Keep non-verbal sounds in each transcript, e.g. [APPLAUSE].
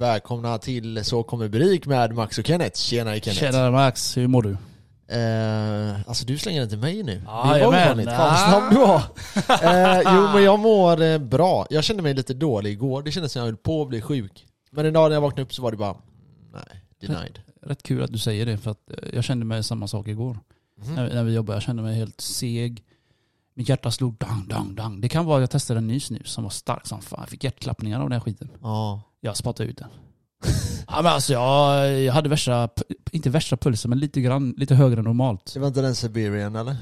Välkomna till Så kommer Brik med Max och Kenneth. Tjenare Kenneth. Tjenare Max, hur mår du? Eh, alltså du slänger den till mig nu. Ja, Det är jajamän. ovanligt. Fan vad snabb du var. Eh, jo men jag mår eh, bra. Jag kände mig lite dålig igår. Det kändes som jag höll på att bli sjuk. Men en dag när jag vaknade upp så var det bara, mm, nej, denied. Rätt kul att du säger det för att eh, jag kände mig samma sak igår. Mhm. När, när vi jobbade, jag kände mig helt seg. Mitt hjärta slog dang, dang, dang. Det kan vara att jag testade en ny snus som var stark som fan. Jag fick hjärtklappningar av den här skiten. Ja. Jag spottade [LAUGHS] ut den. ja, men alltså, jag, jag hade värsta, pu- inte värsta pulsen men lite, grann, lite högre än normalt. Det var inte den Siberian eller?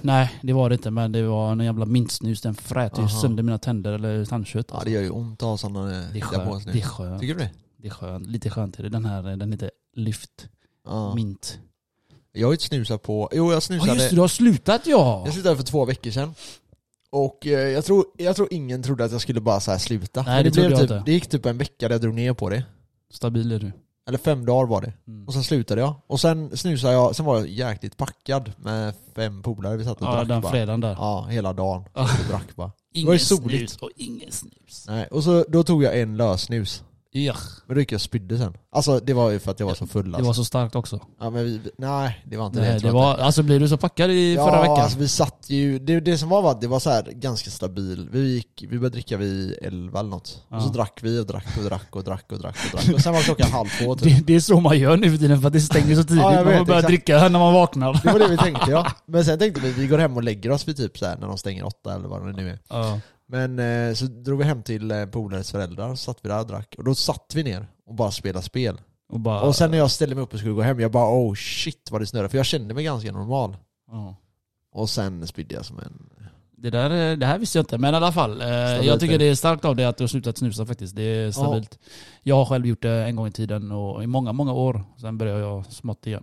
Nej det var det inte men det var en jävla mintsnus. Den frät ju Aha. sönder mina tänder eller tandkött. alltså. Ja det gör ju ont att ha sådana eh, det är där på skönt. oss nu. Det är skönt. Tycker du det? Det är skönt. Lite skönt är det. Den här eh, den heter Lyft Ja. Mint. Jag har ju inte snusat på, jo jag Ja snusade just det, du har slutat ja! Jag slutade för två veckor sedan. Och eh, jag tror, jag tror ingen trodde att jag skulle bara så här sluta. Nej, det trodde blev jag typ, inte. det gick typ en vecka där jag drog ner på det. Stabil är du. Eller fem dagar var det. Mm. Och sen slutade jag. Och sen snusade jag, sen var jag jäkligt packad med fem polare. Vi satt och Ja, drack den bara. fredagen där. Ja, hela dagen. Ah. Vi drack bara. Ingen var ju soligt. snus och ingen snus. Nej, och så, då tog jag en lösnus. Ja, Men då gick jag och spydde sen. Alltså det var ju för att jag var så full det alltså. var så starkt också. Ja men vi- vi, nej det var inte Nej, jag det tror var, alltså blir du så packad i förra veckan? Alltså, vi satt ju, det, det som var var att det var så här ganska stabil. Vi, gick, vi började dricka vid elva eller något. Och så Ja. drack vi och drack och drack och drack och drack och drack. Och sen var klockan halv två typ. [LAUGHS] det, det är så man gör nu för tiden för att det stänger så tidigt. Ja, jag man får vet, börja exakt. dricka när man vaknar. Det var det vi tänkte ja. Men sen tänkte vi vi går hem och lägger oss vid typ så här när de stänger åtta eller vad det nu är. Ja. Men eh, så drog vi hem till eh, polares föräldrar, så satt vi där och drack. Och då satt vi ner och bara spelade spel. Och bara... Och sen när jag ställde mig upp och skulle gå hem, jag bara oh shit vad det snurrade. För jag kände mig ganska normal. ja. Och sen spydde jag som en... Det, där, eh, det här visste jag inte, men i alla fall. eh, Jag är tycker det. det är starkt av dig att du har slutat snusa faktiskt. Det är stabilt. Jag har själv gjort det en gång i tiden och i många, många år. Sen började jag smått igen.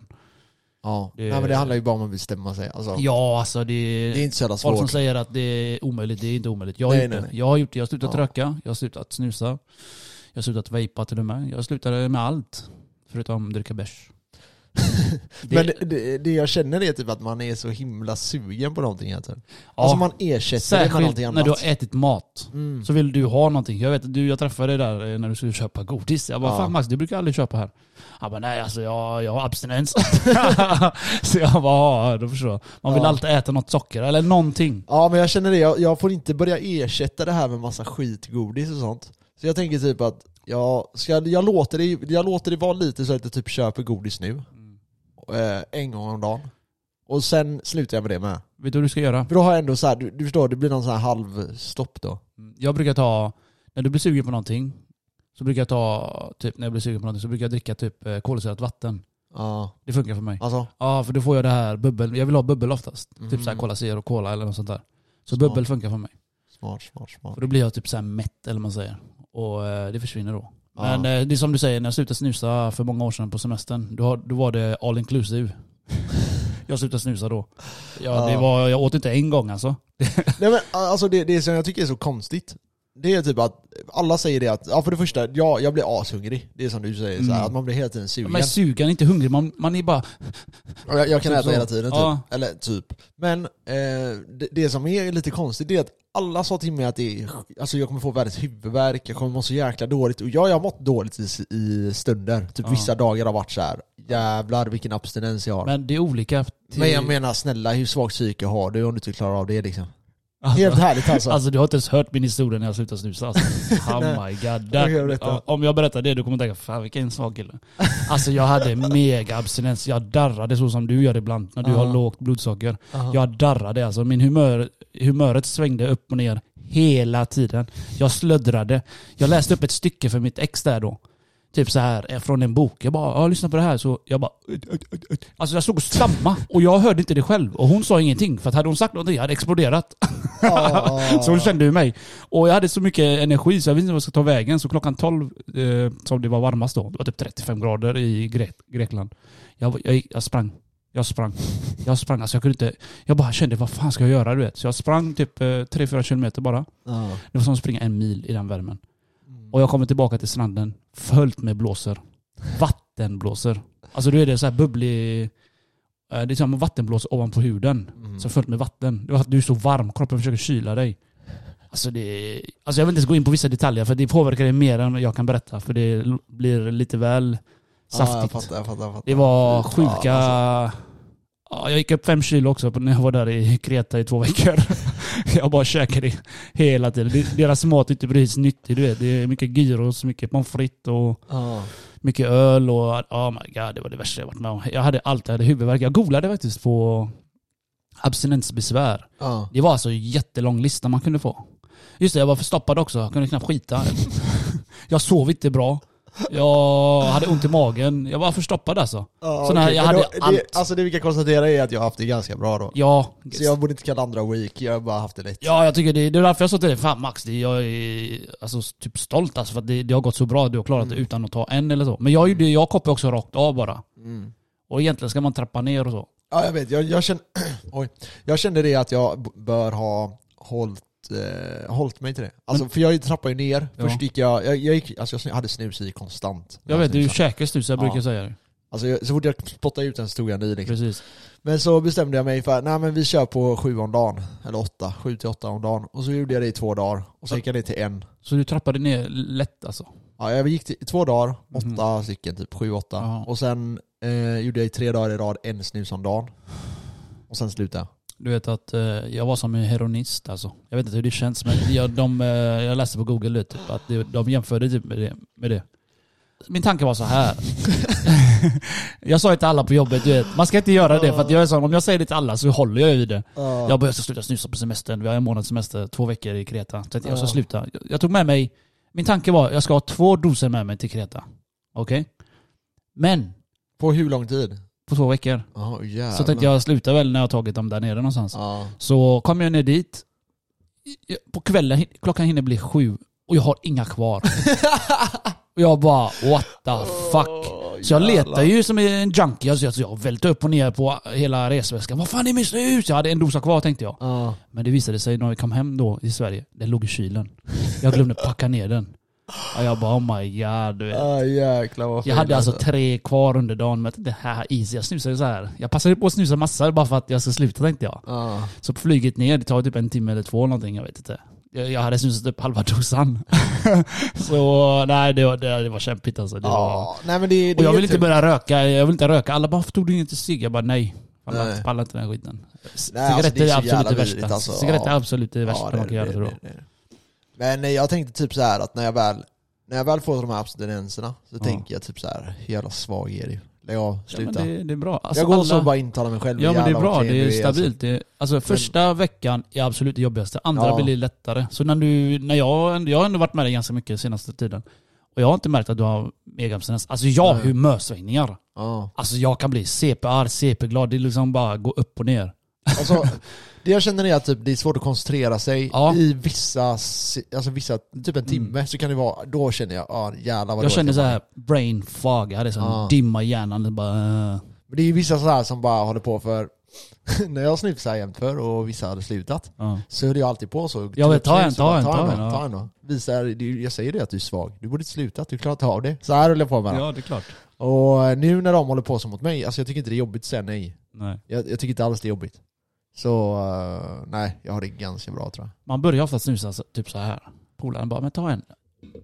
Ja. Det- Nej men det handlar ju bara om att bestämma sig. Alltså, Ja, alltså det... Det är inte så jävla Folk svårt. som säger att det är omöjligt, det är inte omöjligt. Jag har Nej, gjort nej, det. nej. Jag har gjort det. Jag har slutat Ja. röka, jag har slutat snusa, jag har slutat vejpa till och med. Jag slutade med allt. Förutom dricka bärs. [LAUGHS] Det- Men det, det, det jag känner är typ att man är så himla sugen på någonting hela tiden. Ja, Alltså man ersätter det med särskilt någonting när annat. du har ätit mat. mm. Så vill du ha någonting. Jag vet att du, jag träffade dig där eh, när du skulle köpa godis. Jag bara, Ja. fan Max, du brukar aldrig köpa här. Han bara, nej alltså jag, jag [LAUGHS] har abstinens. [LAUGHS] så jag bara, ja, då förstår jag. Man vill Ja. alltid äta något socker eller någonting. Ja men jag känner det, jag, jag får inte börja ersätta det här med massa skitgodis och sånt. Så jag tänker typ att jag, ska, jag, låter, det, jag låter det vara lite så att jag typ köper godis nu. Eh, en gång om dagen. Och sen slutar jag med det med. Vet du vad du ska göra? För då har jag ändå så här, du, du förstår, det blir någon sån här halvstopp då. Mm. Jag brukar ta, när du blir sugen på någonting, så brukar jag ta, typ när jag blir sugen på någonting, så brukar jag dricka typ eh, kolsyrat vatten. Ja, Det funkar för mig. Ja, alltså. för då får jag det här bubbel. Jag vill ha bubbel oftast. Mm. Typ såhär Cola Zero, Cola eller något sånt där. Så Smart. bubbel funkar för mig. Smart, smart, smart. För då blir jag typ såhär mätt eller vad man säger. Och eh, det försvinner då. Ja. Men eh, det är som du säger, när jag slutade snusa för många år sedan på semestern, då, har- då var det [LAUGHS] all inclusive. jag slutade snusa då. Ja, det Ja. var, jag åt inte en gång alltså. Nej men alltså det, det som jag tycker är så konstigt Det är typ att alla säger det att, ja för det första, ja, jag blir ashungrig Det är som du säger, så här, Mm. att man blir hela tiden sugen Man är sugen, inte hungrig. Man, man är bara... Och jag, jag kan typ äta så. hela tiden typ, Ja. eller typ Men eh, det, det som är lite konstigt det är att alla sa till mig att det är, alltså jag kommer få världens huvudvärk, jag kommer må så jäkla dåligt Och ja, jag har mått dåligt i, i stunder, typ Ja. vissa dagar har varit så här. jävlar vilken abstinens jag har men, Men det är olika. till- jag menar snälla, hur svagt psyke har du om du inte klarar av det liksom? Alltså- Helt härligt alltså, Alltså du har inte ens hört min historia när jag slutade [LAUGHS] snusa alltså. Oh my god. Där, Okej, jag berättar. Ja, om jag berättar det du kommer tänka, fan vilken svag kille. Alltså jag hade mega abstinens. Jag darrade så som du gör ibland när du Ja. har lågt blodsocker. Aha. Jag darrade alltså. Min humör, humöret svängde upp och ner hela tiden. Jag slöddrade. Jag läste upp ett stycke för mitt ex där då. Typ så här eh, från en bok. Jag bara, ja lyssna på det här. Så jag bara... ut, ut, ut, ut. Alltså jag stod och stamma och jag hörde inte det själv. Och hon sa ingenting. För att hade hon sagt någonting, jag hade exploderat. Ja. Så hon kände ju mig. Och jag hade så mycket energi så jag visste inte vad jag skulle ta vägen. Så klockan 12, eh, som det var varmast då, det var typ 35 grader i Gre Grekland. Jag, var- jag, gick- jag sprang. Jag sprang. Jag sprang. Alltså jag kunde inte... Jag bara kände, vad fan ska jag göra du vet? Så jag sprang typ eh, 3-4 kilometer bara. Ja. Det var som att springa en mil i den värmen. Och jag kommer tillbaka till stranden, följt med blåsor. Vattenblåsor. Alltså då är det så här bubblig... eh, Det är som vattenblås ovanpå huden. Mm. Så fullt med vatten. Det var att du är så varm, kroppen försöker kyla dig. Alltså, det, alltså jag vill inte ens gå in på vissa detaljer för det påverkar det mer än jag kan berätta. För det l- blir lite väl Ja, jag saftigt. fattar, jag fattar, jag fattar. det var Fy sjuka... fan, alltså. ja, jag gick upp fem kilo också på- när jag var där i Kreta i två veckor. [LAUGHS] jag bara käkade det hela tiden. Det- Deras mat är inte precis nyttig du vet. Det är mycket gyros, mycket pommes frites och Ja. mycket öl och oh my god, det var det värsta jag varit med om. Jag hade allt, jag hade huvudvärk. Jag googlade faktiskt på abstinensbesvär. Ja. Det var alltså en jättelång lista man kunde få. Just det, jag var förstoppad också. Jag kunde knappt skita. [LAUGHS] jag sov inte bra. Jag hade ont i magen. Jag var förstoppad alltså. Ja, Så när okej, jag men hade då, allt. det, alltså det vi kan konstatera är att jag har haft det ganska bra då. Ja, Så jag borde inte kalla andra weak, jag har bara haft det lätt. ja jag tycker det, det är därför jag sa till dig, fan Max, det, jag är alltså, typ stolt alltså, för att det, det har gått så bra. Du har klarat det utan att ta en eller så. Men jag, gjorde- jag kopplar också rakt av bara. Mm. Och egentligen ska man trappa ner och så. Ja, jag vet. Jag, jag, känner, [CLEARS THROAT] oj. jag kände det att jag b- bör ha hållit, eh, hållit mig till det. Alltså, för jag trappade ju ner. Ja. Först gick jag, jag, jag, gick, alltså jag sn- hade snus i konstant. Jag vet, du Snusade. käkar snus, jag Alltså, liksom. Ja. brukar säga det. Alltså, jag, så fort jag spottade ut den så tog jag en ny liksom. Precis. Men så bestämde jag mig för, nej men vi kör på sju om dagen. Eller åtta, sju till åtta om dagen. Och så gjorde jag det i två dagar. Och så gick jag ner till en. Så du trappade ner lätt alltså? Ja, jag gick till, i två dagar, åtta Mhm. stycken, typ sju, åtta. Ja. Och sen eh, gjorde jag i tre dagar i rad en snus om dagen. Och sen slutade jag. Du vet att eh, jag var som en heroinist alltså. Jag vet inte hur det känns men jag, de, eh, jag läste på google typ, att det, de jämförde typ med, det, med det. Min tanke var så här. [LAUGHS] jag sa ju till alla på jobbet, du vet, man ska inte göra det för att jag är sån, om jag säger det till alla så håller jag i det. Jag började sluta snusa på semestern, vi har en månads semester, två veckor i Kreta. Så att jag ska Ja. sluta. Jag, jag tog med mig, min tanke var jag ska ha två doser med mig till Kreta. Okej? Men, På hur lång tid? på två veckor. Oh, jävlar. Så tänkte jag slutar väl när jag har tagit dem där nere någonstans. Ja. Så kom jag ner dit. På kvällen, klockan hinner bli sju och jag har inga kvar. och jag bara what the fuck. Så jag letar ju som en junkie. Alltså jag- så jag välte upp och ner på hela resväskan. Vad fan är min snus? Jag hade en dosa kvar tänkte jag. Ja. Men det visade sig när vi kom hem då i Sverige, den låg i kylen. Jag glömde packa ner den. Och jag bara oh my god. Du vet. Ah, jäklar vad Jag fin hade alltså alltså. tre kvar under dagen. Men jag tänkte, här easy, jag snusade så här. Jag passade på att snusa massa bara för att jag ska sluta tänkte jag. Ja. Så på flyget ner, det tar typ en timme eller två eller någonting, jag vet inte. Jag jag hade snusat upp halva [LAUGHS] [LAUGHS] dosan. så nej, det var, det, det var kämpigt alltså. Det var... Ja. Nej men det, det Och jag är vill inte typ- börja röka, jag vill inte röka. Alla bara, varför tog du inte cigg? Jag bara nej. Pallar Nej. inte- pallar inte den här skiten. C- Nej, alltså, Cigaretter det är så är jävla absolut det vidrigt, värsta. alltså. Cigaretter är Ja. absolut det värsta Ja, man kan göra tror jag. det, det. Men eh, jag tänkte typ så här att när jag väl, när jag väl får de här abstinenserna så Ja. tänker jag typ så här, hur jävla svag är du? Lägg av, Ja, men sluta. det, det är bra. Alltså, jag går alla- så och bara intalar mig själv. Ja men jävlar det är vad bra, klen det är du alltså. stabilt. Det, alltså första veckan är absolut det jobbigaste, andra Ja. blir lite lättare. Så när du, när jag, jag har ändå varit med dig ganska mycket senaste tiden. Och jag har inte märkt att du har megabstinens. Alltså jag har Nej. humörsvängningar. Ja. Alltså jag kan bli CP-arg, CP-glad. Det är liksom bara gå upp och ner. [LAUGHS] Alltså, det jag känner är att typ, det är svårt att koncentrera sig Ja. Mm. i vissa, si- alltså vissa, typ en timme så kan det vara, då känner jag, ja jävlar vad Jag dåligt känner så var. här brain fog. Jag hade sån Ja. dimma i hjärnan. Det bara, eh. Men det är ju vissa så här som bara håller på för, [LAUGHS] när jag snusade jämt för och vissa hade slutat, ja. så höll jag alltid på så. Jag vet, ta en, Så bara, ta en, ta en, ja. ta en då. Visar, du- jag säger det att du är svag, du borde inte sluta, du klarar inte av det. Så här höll jag på med ja, det är klart. det. Och eh, nu när de håller på så mot mig, alltså jag tycker inte det är jobbigt att säga nej. Nej. Jag, jag tycker inte alls det är jobbigt. Så eh, nej, jag har det ganska bra tror jag. Man börjar ofta snusa så- typ så här. Polaren bara, men ta en.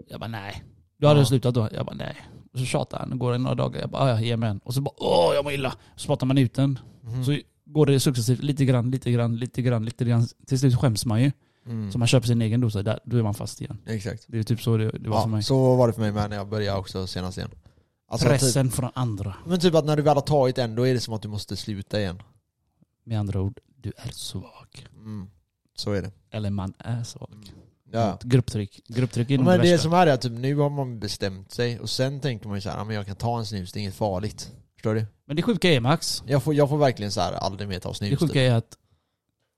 Jag bara, nej. Du hade Ja. slutat då? Jag bara, nej. Och så tjatar han, går det några dagar. Jag bara, "Ah, "Ja, ja, ge mig en. Och så bara, åh, jag mår illa. Så spottar man ut den. Mhm. Så går det successivt, lite grann, lite grann, lite grann, lite grann. Till slut skäms man ju. Mm. Så man köper sin egen dosa, där, då är man fast igen. Exakt. Det är typ så det, det var för Ja, mig. så var det för mig med när jag började också senast igen. Alltså, typ, Pressen från andra. men typ att när du väl har tagit en, då är det som att du måste sluta igen. Med andra ord, du är svag. Mm. Så är det. Eller man är svag. Mm. Ja. Grupptryck. Grupptryck är nog Men det det värsta. som är är att typ, nu har man bestämt sig och sen tänker man ju så här, "Ja, men jag kan ta en snus, det är inget farligt. Förstår du? Men det sjuka är Max, Jag får, jag får verkligen så här aldrig mer ta snus. det sjuka typ. är att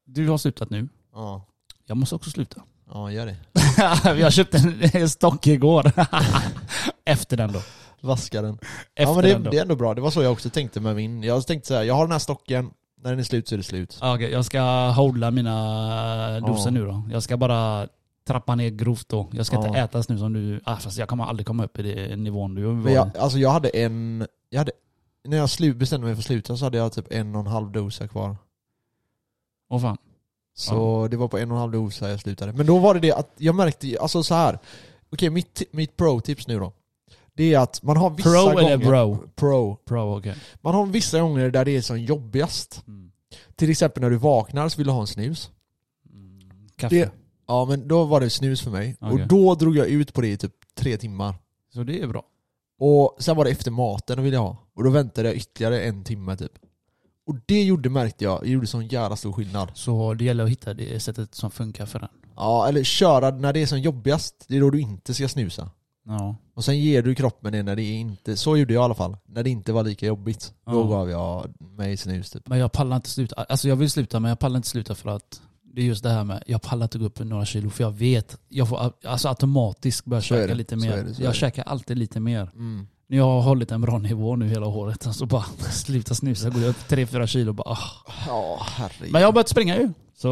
du har slutat nu. Ja. Jag måste också sluta. ja, gör det. [LAUGHS] jag köpte en, en stock igår. [LAUGHS] Efter den då. Vaska den. Efter ja men det, den då. det är ändå bra, det var så jag också tänkte med min. Jag tänkte så här, jag har den här stocken, när den är slut så är det slut. Ja, okej, jag ska hålla mina doser Ja. nu då. Jag ska bara trappa ner grovt då. Jag ska inte Ja. ätas nu som du... Ah, fast jag kommer aldrig komma upp i den nivån du var. Men jag, alltså jag hade en, jag hade, när jag slu, bestämde mig för att sluta så hade jag typ en och en halv dosa kvar. Åh fan. Så det var på en och en halv dos här jag slutade. Men då var det det att jag märkte, ju- alltså så här. Okej, mitt, mitt pro-tips nu då. Det är att man har vissa Pro gånger... eller bro? Pro. Pro, okej. Man har vissa gånger där det är som jobbigast. Mm. Till exempel när du vaknar så vill du ha en snus. Mm. Kaffe. Det- Ja men då var det snus för mig. Okej. Och då drog jag ut på det i typ tre timmar. Så det är bra. Och sen var det efter maten och ville jag ha. Och då väntade jag ytterligare en timme typ. Och det gjorde, märkte jag, det gjorde sån jävla stor skillnad. Så det gäller att hitta det sättet som funkar för den. Ja, eller köra när det är som jobbigast. Det är då du inte ska snusa. Ja. Och sen ger du kroppen det när det är inte, så gjorde jag i alla fall. När det inte var lika jobbigt. Då Ja. gav jag mig snus typ. Men jag pallar inte sluta. Alltså jag vill sluta men jag pallar inte sluta för att det är just det här med, jag pallar inte gå upp några kilo för jag vet, jag får alltså automatiskt börja Så är käka det, lite så mer. är det, så är jag det. käkar alltid lite mer. Mm. När jag har hållit en bra nivå nu hela året, alltså bara [LAUGHS] sluta snusa, går jag upp 3-4 kilo bara ah. Ja, herregud. Men jag har börjat springa ju. Så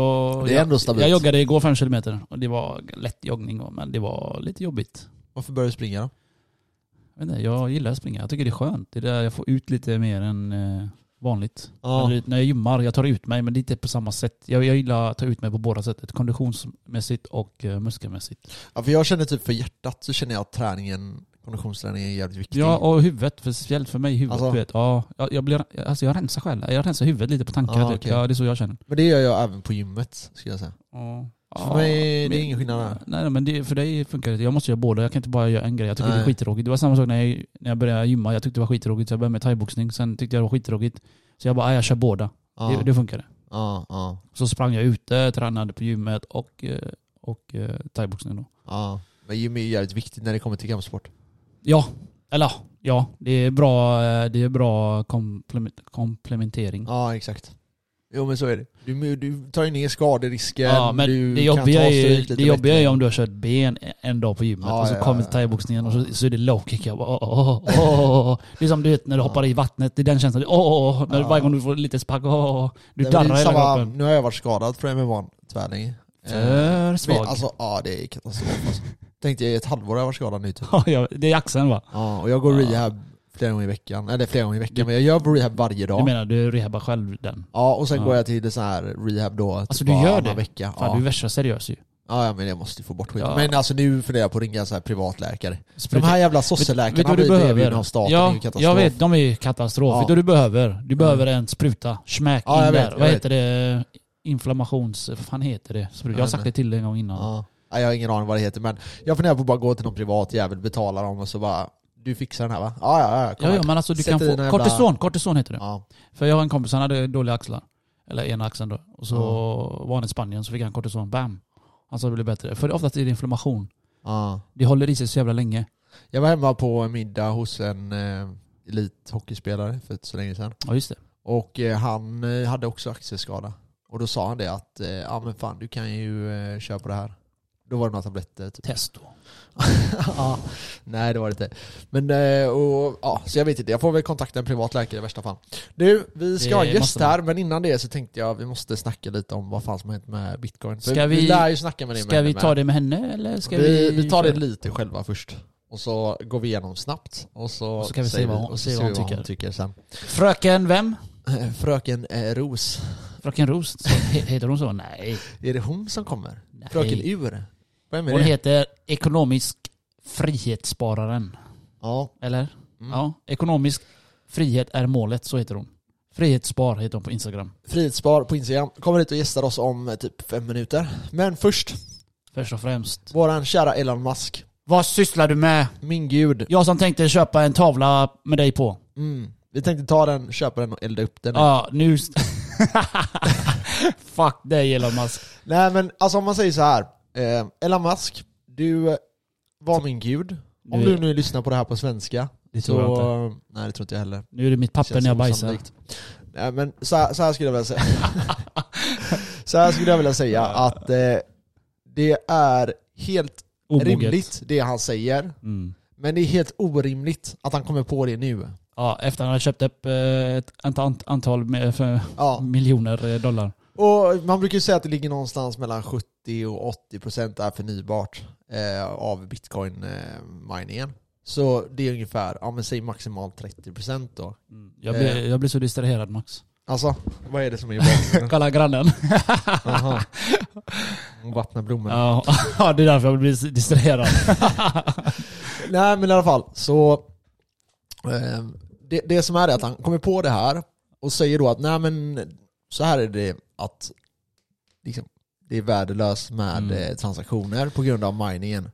Det är jag, ändå stabilt. jag joggade igår 5 kilometer och det var lätt joggning och- men det var lite jobbigt. Varför började du springa då? Jag, vet inte, jag gillar att springa, jag tycker det är skönt. Det är där jag får ut lite mer än eh, vanligt. Ja. När, när jag gymmar, jag tar ut mig men det är inte på samma sätt. Jag, jag gillar att ta ut mig på båda sättet. Konditionsmässigt och eh, muskelmässigt. ja, för jag känner typ för hjärtat så känner jag att träningen, konditionsträningen är jävligt viktig. Ja, och huvudet. för Speciellt för mig, huvudet. Alltså- du vet, ja, jag, jag, blir, alltså jag rensar själv. Jag rensar huvudet lite på tankar. Ja, typ. okej. ja, det är så jag känner. Men det gör jag även på gymmet, skulle jag säga. Ja. För mig är det ingen skillnad där. Nej, nej, men det, för dig funkar det. Jag måste göra båda. Jag kan inte bara göra en grej. Jag tycker det är Nej. skittråkigt. Det var samma sak när jag, när jag började gymma. Jag tyckte det var skittråkigt. Så jag började med thaiboxning. Sen tyckte jag det var skittråkigt. Så jag bara, "Ah, jag kör båda. Ja, Det, det funkar. ja, ja. Så sprang jag ute, tränade på gymmet och, eh, och eh, thaiboxning då. ja. Men gym är ju jävligt viktigt när det kommer till kampsport. Ja, eller ja, ja, det är bra, eh, det är bra komplement, komplementering. Ja, exakt. Jo men så är det. Du, du tar ju ner skaderisken, Ja, du men det kan jobbiga, ta är, stryk ju- lite det jobbiga är ju bättre. om du har kört ben en dag på gymmet Ja, och så ja, ja, kommer ja. thaiboxningen och så, så är det low kick. Jag bara, åh, åh, åh, åh, åh. Det är som du vet när du Ja. hoppar i vattnet, det är den känslan. Åh, åh, åh, när Ja. varje gång du får lite spark, åh, åh, åh. Nej, men du det är darrar hela samma- kroppen. Nu har jag varit skadad från MMA tvärlänge. För svag. Alltså ja, det är katastrof alltså. Tänkte jag i ett halvår har jag varit skadad nu typ. [LAUGHS] Ja, ja, det är axeln va? Ja, och jag går Ja. rehab flera gånger i veckan. Eller flera gånger i veckan, men jag gör rehab varje Du dag. menar du rehabar själv den? Ja, och sen Ja. går jag till det så här rehab då. Typ Alltså, du gör varannan det? Vecka. Fan Ja. du är värsta seriös ju. ja, ja, men jag måste ju få bort skiten. Ja. Men alltså nu funderar jag på att ringa så här privatläkare. De Spruta- här jävla Vet du sosseläkarna vad du blir behöver? erbjudna av staten, det är ju ja, katastrof. jag vet. De är ju katastrof. Ja. Vet du vad du behöver? Du behöver en spruta. Smäck Ja, jag in vet, där. jag Vad vet. heter det? Inflammations... Vad fan heter det? Spruta. Jag har vet sagt inte. det till dig en gång innan. Ja. Nej, Jag har ingen aning vad det heter men jag funderar på att bara gå till någon privat jävel, betala dem och så bara Du fixar den här va? Ja ja ja, kom Ja, här. ja, men alltså du Sätter kan i få... den här jävla- Kortison, kortison heter det. Ja. För jag har en kompis, han hade dåliga axlar. Eller ena axeln då. Och så var han i Spanien, så fick han kortison. Bam! Han sa det blev bättre. För oftast är det inflammation. Ja. Det håller i sig så jävla länge. Jag var hemma på en middag hos en eh, elithockeyspelare för inte så länge sedan. Ja, just det. Och eh, han eh, hade också axelskada. Och då sa han det att, eh, ja men fan du kan ju eh, köra på det här. Då var det några tabletter [LAUGHS] typ. Test då. ja, nej det var det inte. Men, eh, och, ja, så jag vet inte, jag får väl kontakta en privatläkare i värsta fall. Du, vi ska Det ha en gäst måste här, men innan det så tänkte jag vi måste snacka lite om vad fan som har hänt med bitcoin. För Ska vi, vi- lär ju snacka med det Ska vi ta det med henne eller ska vi... vi, vi tar det lite själva först. Och så går vi igenom snabbt och så, Och så kan vi se säger vad hon- och så se vad ser vi hon tycker. sen. Fröken vem? Eh, [LAUGHS] Fröken eh, Ros, Fröken Roos? [LAUGHS] Heter hon så? Nej. är det hon som kommer? Nej. Fröken Ur? Vem är Hon det? heter Ekonomisk Frihetsspararen. Ja, Eller? Mm. Ja. Ekonomisk frihet är målet, så heter hon. Frihetsspar heter hon på Instagram. Frihetsbar på Instagram. Kommer hit och gästar oss om eh, typ fem minuter. Men först Först och främst. Våran kära Elon Musk. Vad sysslar du med? Min gud. Jag som tänkte köpa en tavla med dig på. Mm. Vi tänkte ta den, köpa den och elda upp den. Ja, nu... [LAUGHS] Fuck dig Elon Musk. Nej men alltså om man säger så här. Eh, Elon Musk, du eh, var min gud. Om Nu- du nu lyssnar på det här på svenska. Det så, tror jag Nej det tror inte jag heller. Nu är det mitt papper Känns när jag bajsar. osannolikt. Nej men så här, så här skulle jag vilja säga. [LAUGHS] så här skulle jag vilja säga att eh, det är helt Omoget. rimligt det han säger. Mm. Men det är helt orimligt att han kommer på det nu. Ja, efter han hade köpt upp eh, ett ant- antal med, för Ja. miljoner eh, dollar. Och man brukar ju säga att det ligger någonstans mellan 70 och 80 procent är förnybart eh, av eh, bitcoin-miningen. Så det är ungefär, ja men säg maximalt 30 procent då. Mm. Eh. Jag blir, jag blir så distraherad Max. Alltså, vad är det som är i [LAUGHS] bakgrunden? [LAUGHS] Kolla grannen. Jaha. Hon vattnar blommorna. Ja, [LAUGHS] ja, det är därför jag blir distraherad. Nej men i alla fall, så eh, det, det som är det är att han kommer på det här och säger då att nej men så här är det att liksom, det är värdelöst med Mm. eh, transaktioner på grund av miningen.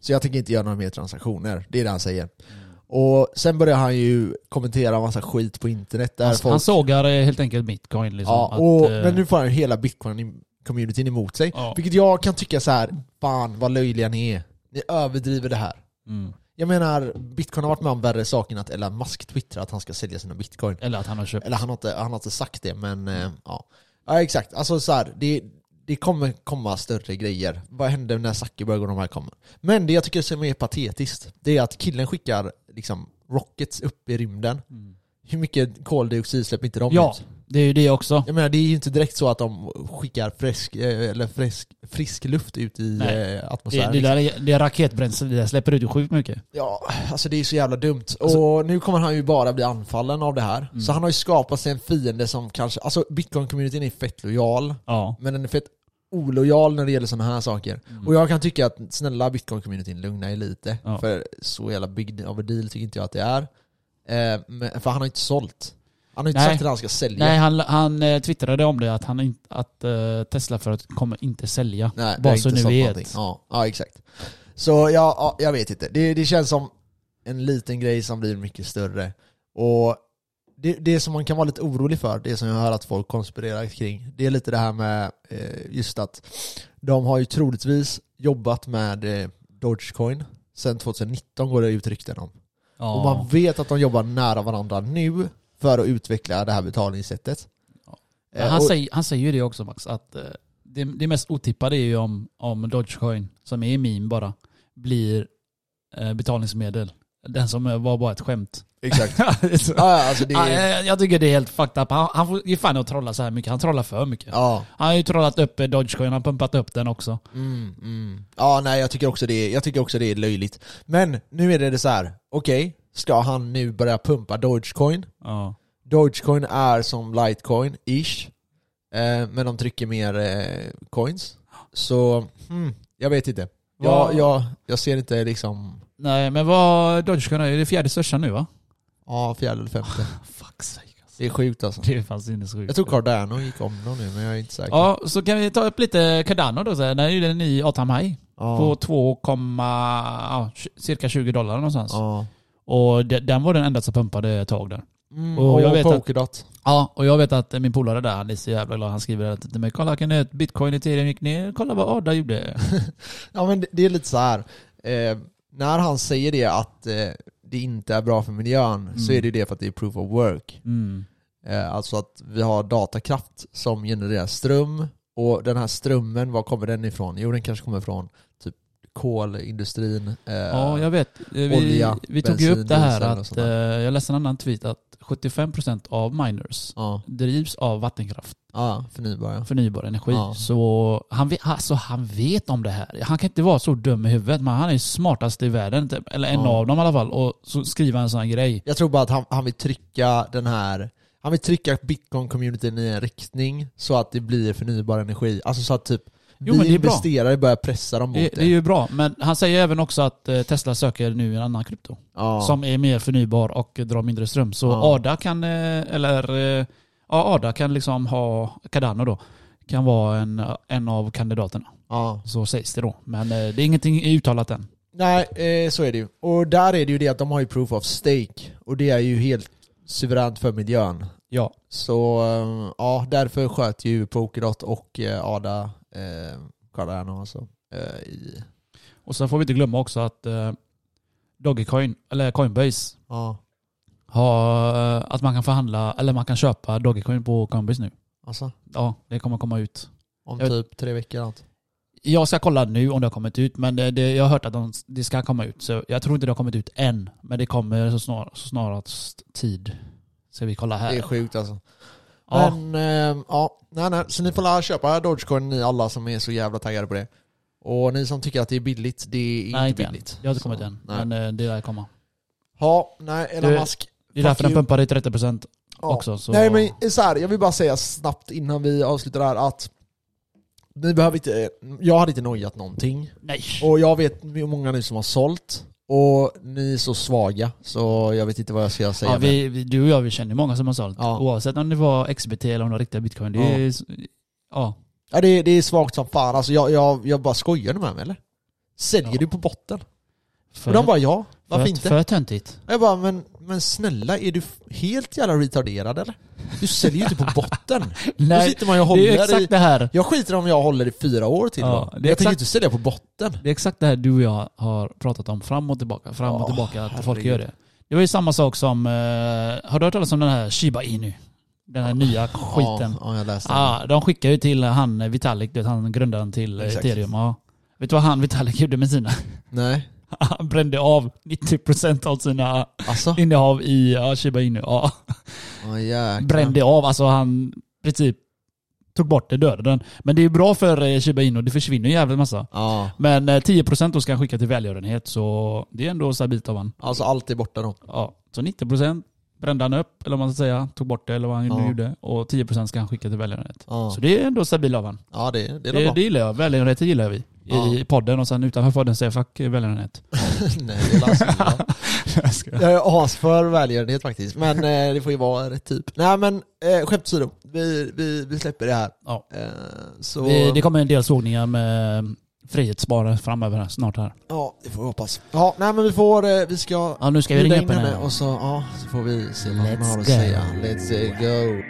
Så jag tänker inte göra några mer transaktioner. Det är det han säger. Mm. Och sen börjar han ju kommentera en massa skit på internet där Han, folk... han sågar eh, helt enkelt bitcoin. Liksom, ja, och, eh, men nu får han ju hela bitcoin-communityn emot sig. Ja. Vilket jag kan tycka så här, fan vad löjliga ni är. Ni överdriver det här. mm. Jag menar, bitcoin har varit med om värre saker än att Elon Musk twittrar att han ska sälja sina bitcoin. Eller att han har köpt. Eller han har inte, han har inte sagt det, men eh, ja. Ja exakt, alltså så här, det, det kommer komma större grejer. Vad händer när Zuckerberg och de här kommer? Men det jag tycker som är patetiskt, det är att killen skickar liksom rockets upp i rymden. Mm. Hur mycket koldioxid släpper inte de Ja, ut? det är ju det också. Jag menar, det är ju inte direkt så att de skickar frisk, eh, eller frisk, frisk luft ut i Nej. eh, Det, atmosfären. det, där, det raketbränsle, det där släpper ut ju sjukt mycket. Ja, alltså det är så jävla dumt. Alltså- och nu kommer han ju bara bli anfallen av det här. Mm. Så han har ju skapat sig en fiende som kanske, alltså bitcoin-communityn är fett lojal, Ja. men den är fett olojal när det gäller sådana här saker. Och jag kan tycka att snälla bitcoin-communityn, lugna er lite. Mm. Ja. För så jävla big of a deal tycker inte jag att det är. Eh, men, för han har inte sålt. Han har inte Nej. sagt att han ska sälja. Nej, han, han eh, twittrade om det att, han inte- att eh, Tesla för att kommer inte sälja. Nej, Bara det är så inte ni sånt vet. någonting. Ja, ja, exakt. Så ja, ja, jag vet inte. Det, det känns som en liten grej som blir mycket större. Och det, det som man kan vara lite orolig för, det som jag hör att folk konspirerar kring, det är lite det här med eh, just att de har ju troligtvis jobbat med eh, Dogecoin. Sen 2019 går det ut rykten om. Ja. Och man vet att de jobbar nära varandra nu för att utveckla det här betalningssättet. Ja. Eh, han, och- säger, han säger ju det också Max, att eh, det, det mest otippade är ju om, om Dogecoin, som är meme bara, blir eh, betalningsmedel. Den som eh, var bara ett skämt. [LAUGHS] Exakt. Ja, ja, alltså det Ja, är... eh, jag tycker det är helt fucked up. Han, han får ju fan att trolla så här mycket. Han trollar för mycket. Ja. Han har ju trollat upp eh, Dogecoin, han har pumpat upp den också. Mm, mm. Ja, nej jag tycker, också det är, jag tycker också det är löjligt. Men nu är det, det så här. okej, ska han nu börja pumpa Dogecoin? Ja. Dogecoin är som Litecoin-ish, eh, men de trycker mer eh, coins. Så, hmm, jag vet inte. Jag, Vad- jag, jag ser inte liksom, Nej men vad, Dogecoin är det fjärde största nu va? ja fjärde eller [LAUGHS] femte. Fuck sake alltså. Det är sjukt alltså. Det är fan sinnessjukt. Jag tror Cardano gick om dem nu, men jag är inte säker. Ja, så kan vi ta upp lite Cardano då. Så här. Den är ju en ny all time high. Ja, På 2, ja, tj- cirka 20 dollar någonstans. ja. Och de- den var den enda som pumpade ett tag där. Mm, Och och jag vet att- Polkadot. Ja, och jag vet att min polare där, han är så jävla glad. Han skriver att men kolla kan det, bitcoin i tiden gick ner, kolla vad Arda gjorde. Ja men det- det är lite så här. Eh, när han säger det att eh, det inte är bra för miljön så Mm. är det ju det för att det är proof of work. Mm. Eh, alltså att vi har datakraft som genererar ström och den här strömmen, var kommer den ifrån? Jo den kanske kommer från typ kolindustrin. Eh, Ja, jag vet. Eh, Vi, Olja, vi tog ju bensin, upp det här diesel och att, sånt där. eh, jag läste en annan tweet att 75% av miners ja, drivs av vattenkraft, ja, förnybar ja. förnybar energi. Ja. Så han, ve- alltså, han vet om det här. Han kan inte vara så dum i huvudet, men han är smartast i världen, typ. eller en Ja. av dem i alla fall. Och så skriver han en sån här grej. Jag tror bara att han, han vill trycka den här han vill trycka bitcoin-communityn i en riktning så att det blir förnybar energi. Alltså så att typ Jo, men vi det är bra. investerare börjar pressa dem mot Det, det. det är ju bra, men han säger även också att eh, Tesla söker nu en annan krypto. ja. som är mer förnybar och drar mindre ström. Så Ja. Ada kan, eh, eller eh, ja, Ada kan liksom ha, Cardano då, kan vara en, en av kandidaterna. ja. Så sägs det då. Men eh, det är ingenting uttalat än. Nej, eh, så är det ju. Och där är det ju det att de har ju proof of stake. Och det är ju helt suveränt för miljön. Ja. Så eh, ja, därför sköt ju Polkadot och eh, Ada eh, Cardano alltså. Eh, i, Och sen får vi inte glömma också att eh, Dogecoin, eller Coinbase, ja, har, eh, att man kan förhandla, eller man kan köpa Dogecoin på Coinbase nu. alltså Ja, det kommer komma ut. om Jag- typ tre veckor eller något. Jag ska kolla nu om det har kommit ut, men det, det, jag har hört att de, det ska komma ut. Så jag tror inte det har kommit ut än, men det kommer så, snar, så snarast tid. Ska vi kolla här. Det är sjukt alltså. Äh. ja, Men eh, ja, nej, nej. Så ni får lära köpa Dogecoin ni alla som är så jävla taggade på det. Och ni som tycker att det är billigt, det är nej, inte inte än. billigt. Det har inte Så, kommit än, nej. men eh, det lär komma. Ja, nej, Elon Du- Musk. Det är därför Fuck den you. pumpar i 30%. Ja. också. Så... Nej men så här, jag vill bara säga snabbt innan vi avslutar det här att ni behöver inte, jag hade inte nojat någonting. Nej. Och jag vet hur många nu som har sålt. Och ni är så svaga, så jag vet inte vad jag ska säga. Ja, men- vi, vi, du och jag vi känner många som har sålt. Ja. Oavsett om det var XBT eller om det var riktiga bitcoin. Det Ja. är, ju s- ja. ja, det, är- det är svagt som fan. Alltså, jag, jag, jag bara, skojar du med mig eller? Säljer Ja. du på botten? För, Och de bara, ja. Varför för, inte? för töntigt. Jag bara, men, men snälla, är du f- helt jävla retarderad eller? Du säljer ju [LAUGHS] inte på botten. Då Nej, sitter man ju och det är håller ju i... exakt det här. Jag skiter om jag håller i fyra år till Ja, ja, det är Jag tänker exakt- inte sälja på botten. Det är exakt det här du och jag har pratat om fram och tillbaka, fram och Ja, tillbaka, att folk herregud. gör det. Det var ju samma sak som, eh, har du hört talas om den här Shiba Inu? Den här nya skiten. Ja, ja jag läste den. Ja, de skickar ju till han eh, Vitalik, du vet han grundaren till eh, Exakt. ethereum. Ja. Vet du vad han Vitalik gjorde med sina? [LAUGHS] Nej, Han brände av 90% av sina alltså. innehav i ja, Shiba Inu. Ja. Oh, jäklar. Brände av, alltså han i princip tog bort det, dödade den. Men det är ju bra för eh, Shiba Inu, det försvinner ju en jävligt massa. Ja, Men eh, 10% då ska han skicka till välgörenhet så det är ändå stabilt av han. alltså allt är borta då. Ja, så 90% brände han upp, eller vad man ska säga, tog bort det eller vad han nu Ja. gjorde. Och 10% ska han skicka till välgörenhet. Ja, Så det är ändå stabilt av han. ja det, det är Det, det, det gillar jag, välgörenhet gillar vi. I Ja. podden och sen utanför podden säger jag fuck välgörenhet. [LAUGHS] Nej, det är [LAUGHS] lastbilar. Jag [LAUGHS] skojar. Jag är as för välgörenhet faktiskt, men eh, det får ju vara rätt typ. Nej men eh, skämt åsido, vi, vi, vi släpper det här. Ja. Eh, så, Vi- Det kommer en del sågningar med frihetsbarare framöver här, snart här. ja, det får vi hoppas. Ja, nej men vi får, eh, vi ska Ja, nu ska vi bjuda ringa in upp henne. henne och så, ja, så får vi se vad hon Let's har att go. säga. Let's eh, go.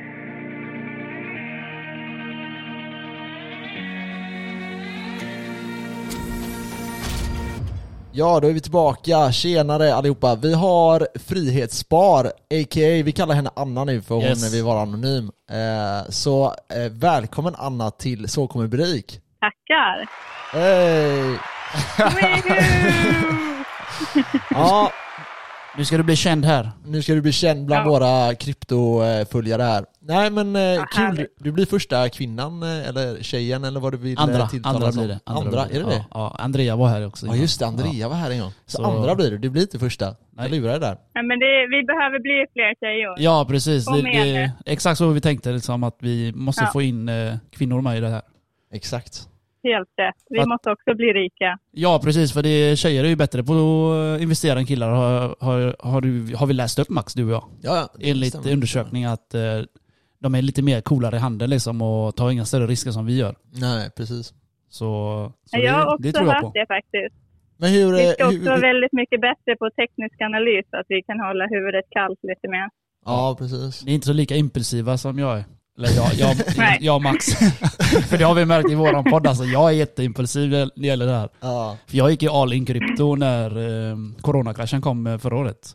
Ja, då är vi tillbaka. Tjenare allihopa. Vi har Frihetsspar, a.k.a. vi kallar henne Anna nu för hon Yes. vill vara anonym. Eh, så eh, välkommen Anna till Så kommer Brik. [LAUGHS] Tackar! Hej! Woohoo! Ja, Nu ska du bli känd här. Nu ska du bli känd bland Ja. våra kryptoföljare här. Nej men eh, kul, härligt. du blir första kvinnan eh, eller tjejen eller vad du vill eh, Andra, tilltalas andra som. blir det. Andra, blir är det det? Ja, ja, Andrea var här också. Ja just det, Andrea var här en gång. Så, Så- andra blir du, du blir inte första. Nej. Jag lurar dig där. Ja, men det, vi behöver bli fler tjejer. Ja, precis. Kom Det, igen det, exakt så vi tänkte, liksom, att vi måste Ja. få in eh, kvinnor med i det här. Exakt. Helt rätt. Vi Att- måste också bli rika. Ja, precis. För det, tjejer är ju bättre på att investera än killar, har, har, har, du, har vi läst upp Max, du och jag. Ja, ja, det Enligt stämmer. undersökning att eh, de är lite mer coolare i handeln liksom, och tar inga större risker som vi gör. Nej precis. Så, så jag har det, också det tror jag hört på. det faktiskt. Men hur... Vi eh, ska också hur, vara hur väldigt mycket bättre på teknisk analys så att vi kan hålla huvudet kallt lite mer. ja precis. Ni är inte så lika impulsiva som jag är. Eller jag, jag, [LAUGHS] Nej. jag och Max. [LAUGHS] för det har vi märkt i våran podd. Alltså, jag är jätteimpulsiv när det gäller det här. Ja. För jag gick ju all in krypto när eh, coronakraschen kom eh, förra året.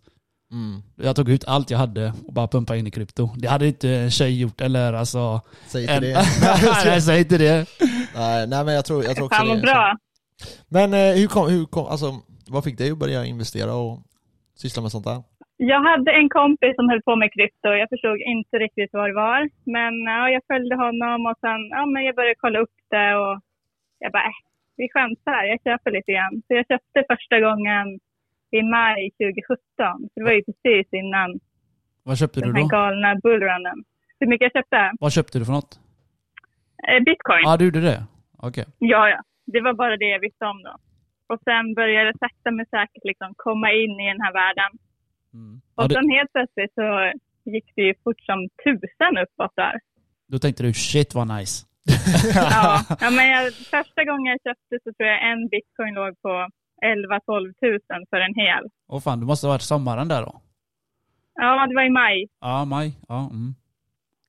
Mm. Jag tog ut allt jag hade och bara pumpade in i krypto. Det hade inte en tjej gjort eller alltså... Säg inte En... det. [LAUGHS] [LAUGHS] Nej, säg inte det. nej, nej men jag tror, jag tror också Fan vad det. bra! Men eh, hur kom, hur kom, alltså vad fick dig att börja investera och syssla med sånt där? Jag hade en kompis som höll på med krypto. Jag förstod inte riktigt vad det var. Men ja, jag följde honom och sen ja, men jag började kolla upp det och jag bara, äh, vi skämtar, jag köper lite grann. Så jag köpte första gången i maj 2017. Så det var ju precis innan Vad köpte du den här då? galna bullrunnen. Hur mycket jag köpte? Vad köpte du för något? Eh, Bitcoin. Ja, ah, du gjorde det? Okej. Ja, ja. Det var bara det jag visste om då. Och sen började det sakta men säkert liksom komma in i den här världen. Mm. Ja, Och du, sen helt plötsligt så gick det ju fort som tusen uppåt där. då tänkte du shit vad nice. Ja, [LAUGHS] ja men jag, första gången jag köpte så tror jag en bitcoin låg på 11-12 tusen för en hel. Åh fan, det måste ha varit sommaren där då? Ja, det var i maj. Ja, maj. Ja, mm.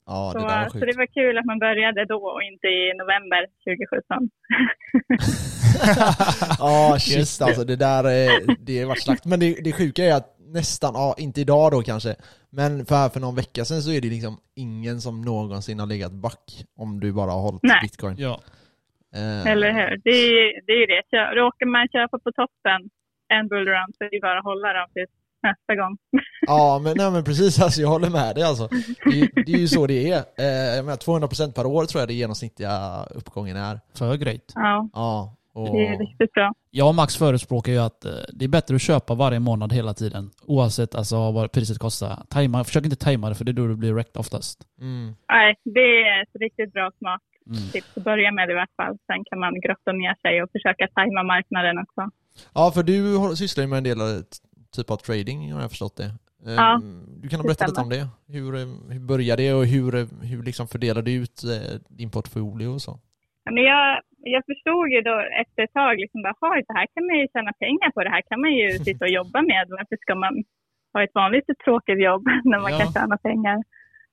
Ja det så, där var så det sjukt. var kul att man började då och inte i november 2017. Ja shit [LAUGHS] Just det. alltså, det där eh, det har varit slakt. Men det, det sjuka är att nästan, ja inte idag då kanske, men för här för någon vecka sedan så är det liksom ingen som någonsin har legat back om du bara har hållit Nej. bitcoin. ja. Eh, Eller hur? Det är ju det. Är det. Kö- Råkar man köpa på toppen en bullrun så är det bara att hålla dem tills nästa gång. Ja men, nej, men precis, [LAUGHS] alltså, jag håller med dig alltså. Det, är ju- det är ju så det är. Eh, jag menar, 200% per år tror jag det genomsnittliga uppgången är. För grejt. Ja. Ja. Och, Det är riktigt bra. Jag och Max förespråkar ju att eh, det är bättre att köpa varje månad hela tiden. Oavsett alltså vad priset kostar. Tajma, försök inte tajma det för det är då du blir wrecked oftast. mm, Nej, det är ett riktigt bra smart Mm. tips att börja med i vart fall. Sen kan man grotta ner sig och försöka tajma marknaden också. ja, för du har- sysslar ju med en del av ett- typ av trading har jag förstått det. Eh, Ja, du kan det berätta lite om det. Hur, eh, hur började det och hur, eh, hur liksom fördelar du ut eh, din portfolio och så? Ja, Men jag, jag förstod ju då efter ett tag liksom bara, "Jaha, det här kan man ju tjäna pengar på. Det här kan man ju sitta och jobba med. Varför ska man ha ett vanligt tråkigt jobb [LAUGHS] när man Ja. kan tjäna pengar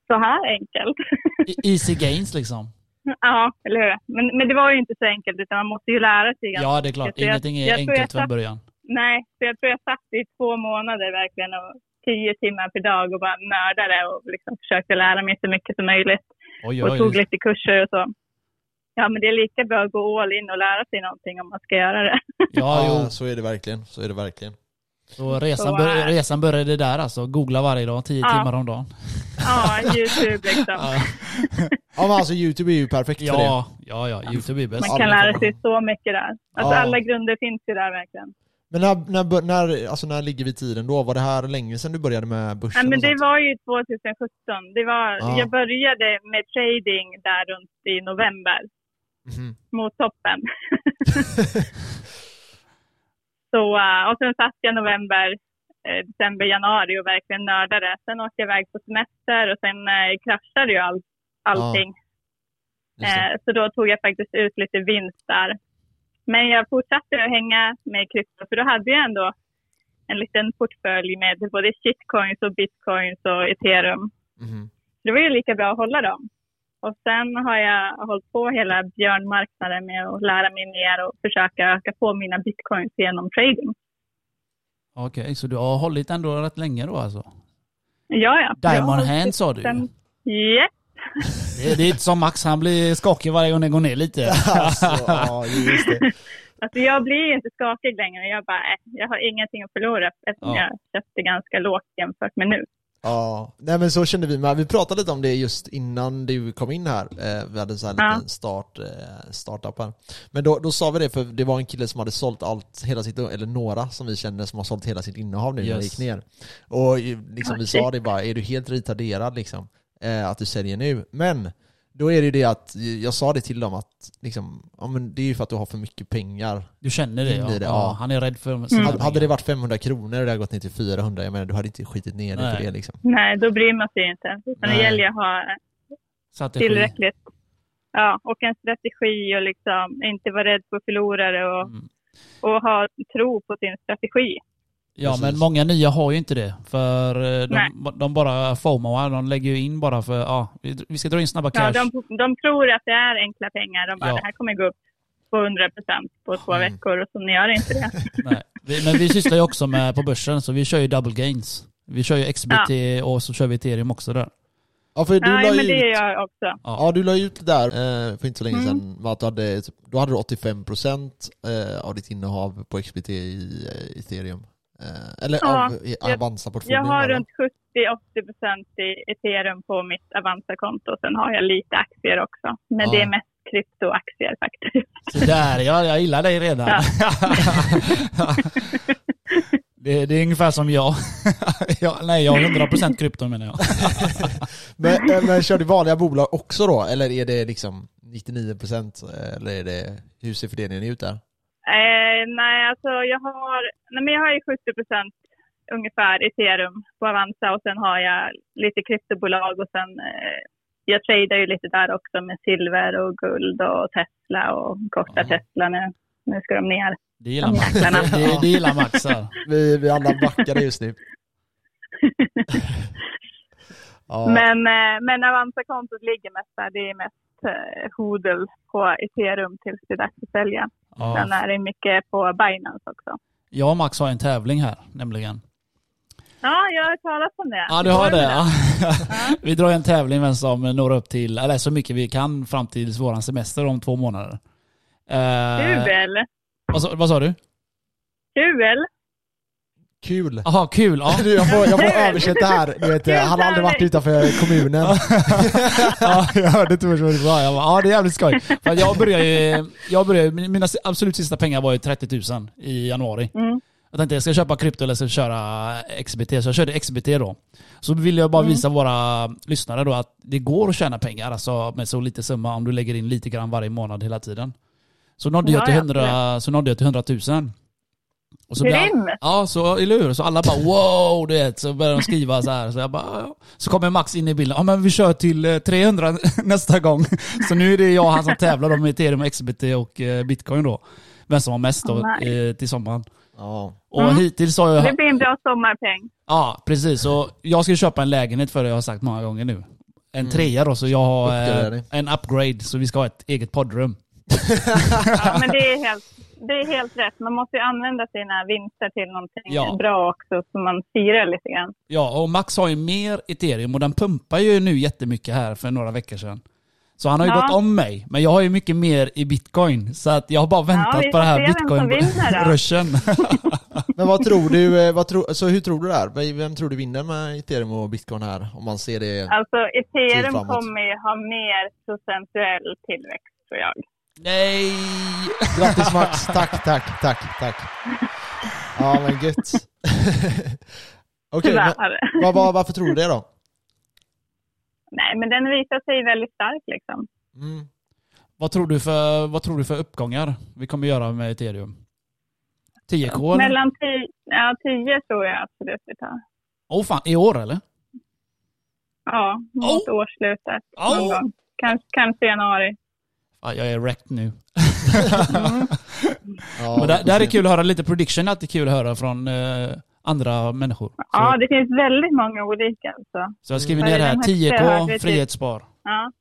så här enkelt? [LAUGHS] E- Easy gains liksom. Ja, eller hur? Men, men det var ju inte så enkelt utan man måste ju lära sig. ganska Ja det är klart, Jag tror jag- ingenting är jag tror jag enkelt från satt- början. Nej, så jag tror jag satt i två månader verkligen och tio timmar per dag och bara nördade och liksom försökte lära mig så mycket som möjligt Oj, och oj, tog oj. lite kurser och så. Ja, men det är lika bra att gå all in och lära sig någonting om man ska göra det. Ja, jo. så är det verkligen. Så är det verkligen. Så resan, Så, bör, äh, resan började där alltså. Googla varje dag, tio Ja. timmar om dagen. Ja, YouTube liksom. Ja, Ja men alltså YouTube är ju perfekt för det. ja, ja, ja YouTube är bäst. Ja, Man kan det kan lära man. sig så mycket där. Alltså Ja. alla grunder finns ju där verkligen. Men när, när, bör- när, alltså när ligger vi i tiden då? Var det här länge sedan du började med börsen? Nej, men och det sånt? var ju 2017. Det var, Ja. Jag började med trading där runt i november. Mhm. mot [LAUGHS] toppen. så, eh, och sen satt jag november, eh, december, januari och verkligen nördade. Sen åkte jag iväg på semester och sen eh, kraschade ju all, allting. Just det. eh, så då tog jag faktiskt ut lite vinst där. Men jag fortsatte att hänga med krypto för då hade jag ändå en liten portfölj med både shitcoins och bitcoins och ethereum. Mhm. [LAUGHS] Det var ju lika bra att hålla dem. Och sen har jag hållit på hela björnmarknaden med att lära mig mer och försöka öka på mina bitcoins genom trading. Okej, så du har hållit ändå rätt länge då alltså? Ja, ja. typ Diamond Ja, hand sa du ju. sen- Ja, Det, det är inte som Max, han blir skakig varje gång det går ner lite. Alltså, ja, just det. alltså jag blir ju inte skakig längre. Jag bara, äh, jag har ingenting att förlora eftersom Ja. jag köpte ganska lågt jämfört med nu. Ja, nej men så kände vi med. Vi pratade lite om det just innan du kom in här. Eh, Vi hade en sån här Ja. liten start, eh, startup här. Men då, då sa vi det för det var en kille som hade sålt allt, hela sitt, eller några som vi kände som har sålt hela sitt innehav nu när det Yes. gick ner. Och ju- liksom, vi Ja, sa shit. det bara, är du helt retarderad liksom? eh, Att du säljer nu. Men då är det ju det att eh, jag sa det till dem att liksom, ja, men det är ju för att du har för mycket pengar. Du känner det In ja. i det, ja. ja. Han är rädd Mm. för sina Hade- Hade pengar. det varit 500 kronor och det hade gått ner till 400, jag menar du hade inte skitit ner dig för Nej. det liksom. Nej, då bryr man sig ju inte. Utan det Nej. gäller ju att ha Strategi. tillräckligt. Ja, och en strategi och liksom inte vara rädd för förlorare och, Mm. och ha tro på sin strategi. Ja Precis. men många nya har ju inte det. För eh, Nej. de, de bara fomoar, de lägger ju in bara för ja, vi, vi ska dra in snabba Ja, cash. de, de tror att det är enkla pengar. De bara, Ja. det här kommer gå upp 200 procent på två Mm. veckor och så gör det inte det. Nej. Vi, men vi sysslar ju också med på börsen så vi kör ju double gains. Vi kör ju XBT och så kör vi ethereum också där. Ja, för [LAUGHS] du la Nej, men ju det ut- gör jag också. Ja, du la ut det där eh, för inte så länge Mm. sedan. med Att du hade, typ- då hade du 85% eh, av ditt innehav på XBT i eh, ethereum. Eh, eller Ja, av i jag- Avanza-portföljen. Jag va? har runt 70-80 procent i ethereum på mitt Avanza-konto. Sen har jag lite aktier också. Men Ja. det är mest kryptoaktier faktiskt. Så där, jag, jag gillar dig redan. Ja. [LAUGHS] det, det är ungefär som jag. [LAUGHS] jag nej, jag har 100% krypto menar jag. Men, eh, men kör du vanliga bolag också då? Eller är det liksom 99% eller är det, hur ser fördelningen ut där? Eh, nej, alltså jag har, nej, men jag har ju 70 procent ungefär ethereum på Avanza och sen har jag lite kryptobolag och sen eh, jag tradar ju lite där också med silver och guld och Tesla och korta Ja. Tesla nu. Nu ska de ner, Det gillar de Max. jäklarna. Det, det gillar Max. här. Vi, vi alla backar just nu. ja, Men, eh, men Avanza-kontot ligger mest där. Det är mest eh, hodl på ethereum tills det är dags att sälja. Sen Ja. är det mycket på Binance också. Jag och Max har en tävling här nämligen. Ja, jag har talat om det. Ja, du har det. Ja. Ja. [LAUGHS] Vi drar en tävling vem som når upp till, eller så mycket vi kan fram till våran semester om två månader. Eh, Kul! vad, sa- vad sa du? Kul! Kul. Jaha, kul. [LAUGHS] Ja. [LAUGHS] Jag får, jag får översätta här. Du vet, han har aldrig varit utanför kommunen. ja, jag hörde inte först vad det var. Jag bara, ja det är jävligt skoj. För att jag började, ju- jag började, mina absolut sista pengar var ju 30 000 i januari. Mm. Jag tänkte jag ska köpa krypto eller så köra XBT. Så jag körde XBT då. Så vill jag bara Mm. visa våra lyssnare då att det går att tjäna pengar alltså med så lite summa om du lägger in lite grann varje månad hela tiden. Så nådde jag Ja, till ja, 100, så nådde jag till 100 000. Och så blev all- Grymt! Ja, så, eller hur? Så alla bara wow, du vet. Så började de skriva så här. Så, jag bara, ja. så kommer Max in i bilden. Ja men vi kör till eh, 300 [LAUGHS] nästa gång. Så nu är det jag och han som tävlar om ethereum, XBT och eh, bitcoin då. Vem som har mest då Oh, eh, till sommaren. Ja. Och Mm. hittills har Det jag... blir en bra sommarpeng. Ja, precis. Och jag ska köpa en lägenhet för det jag har sagt många gånger nu. En trea då, så jag har eh, Uppgradering. en upgrade. Så vi ska ha ett eget poddrum. [LAUGHS] Ja, men det är, helt, det är helt rätt. Man måste ju använda sina vinster till någonting Ja. bra också, så man firar lite grann. Ja, och Max har ju mer ethereum och den pumpar ju nu jättemycket här för några veckor sedan. Så han har ju Ja. gått om mig, men jag har ju mycket mer i bitcoin. Så att jag har bara väntat vi på det här får se vem som vinner då. bitcoin-ruschen. Men vad tror du, eh, vad tro, så hur tror du det här? Vem- Vem tror du vinner med ethereum och bitcoin här? Om man ser det... Alltså, Till ethereum framåt. kommer ju ha mer procentuell tillväxt, tror jag. [LAUGHS] Nej! Grattis Max, tack, tack, tack, tack. Ja men gött. [LAUGHS] Okej, men Tyvärr. [LAUGHS] vad- vad- varför tror du det då? Nej, men den visar sig väldigt stark liksom. Mm. Vad tror, du för, vad tror du för uppgångar vi kommer göra med ethereum? 10k? eller? Mellan 10 ja, 10 tror jag absolut vi tar. Åh fan, i år eller? Ja, mot årsslutet. Oh. Någon gång. Kanske, kanske januari. Fan, jag är wrecked nu. Ja, Men vi där, får där är se. kul att höra lite prediction, att det är kul att höra från eh, andra människor. Så, Ja, det finns väldigt många olika. Alltså. så jag skriver Vad ner är det här, den högsta jag 10k, hört? frihetsspar. Ja.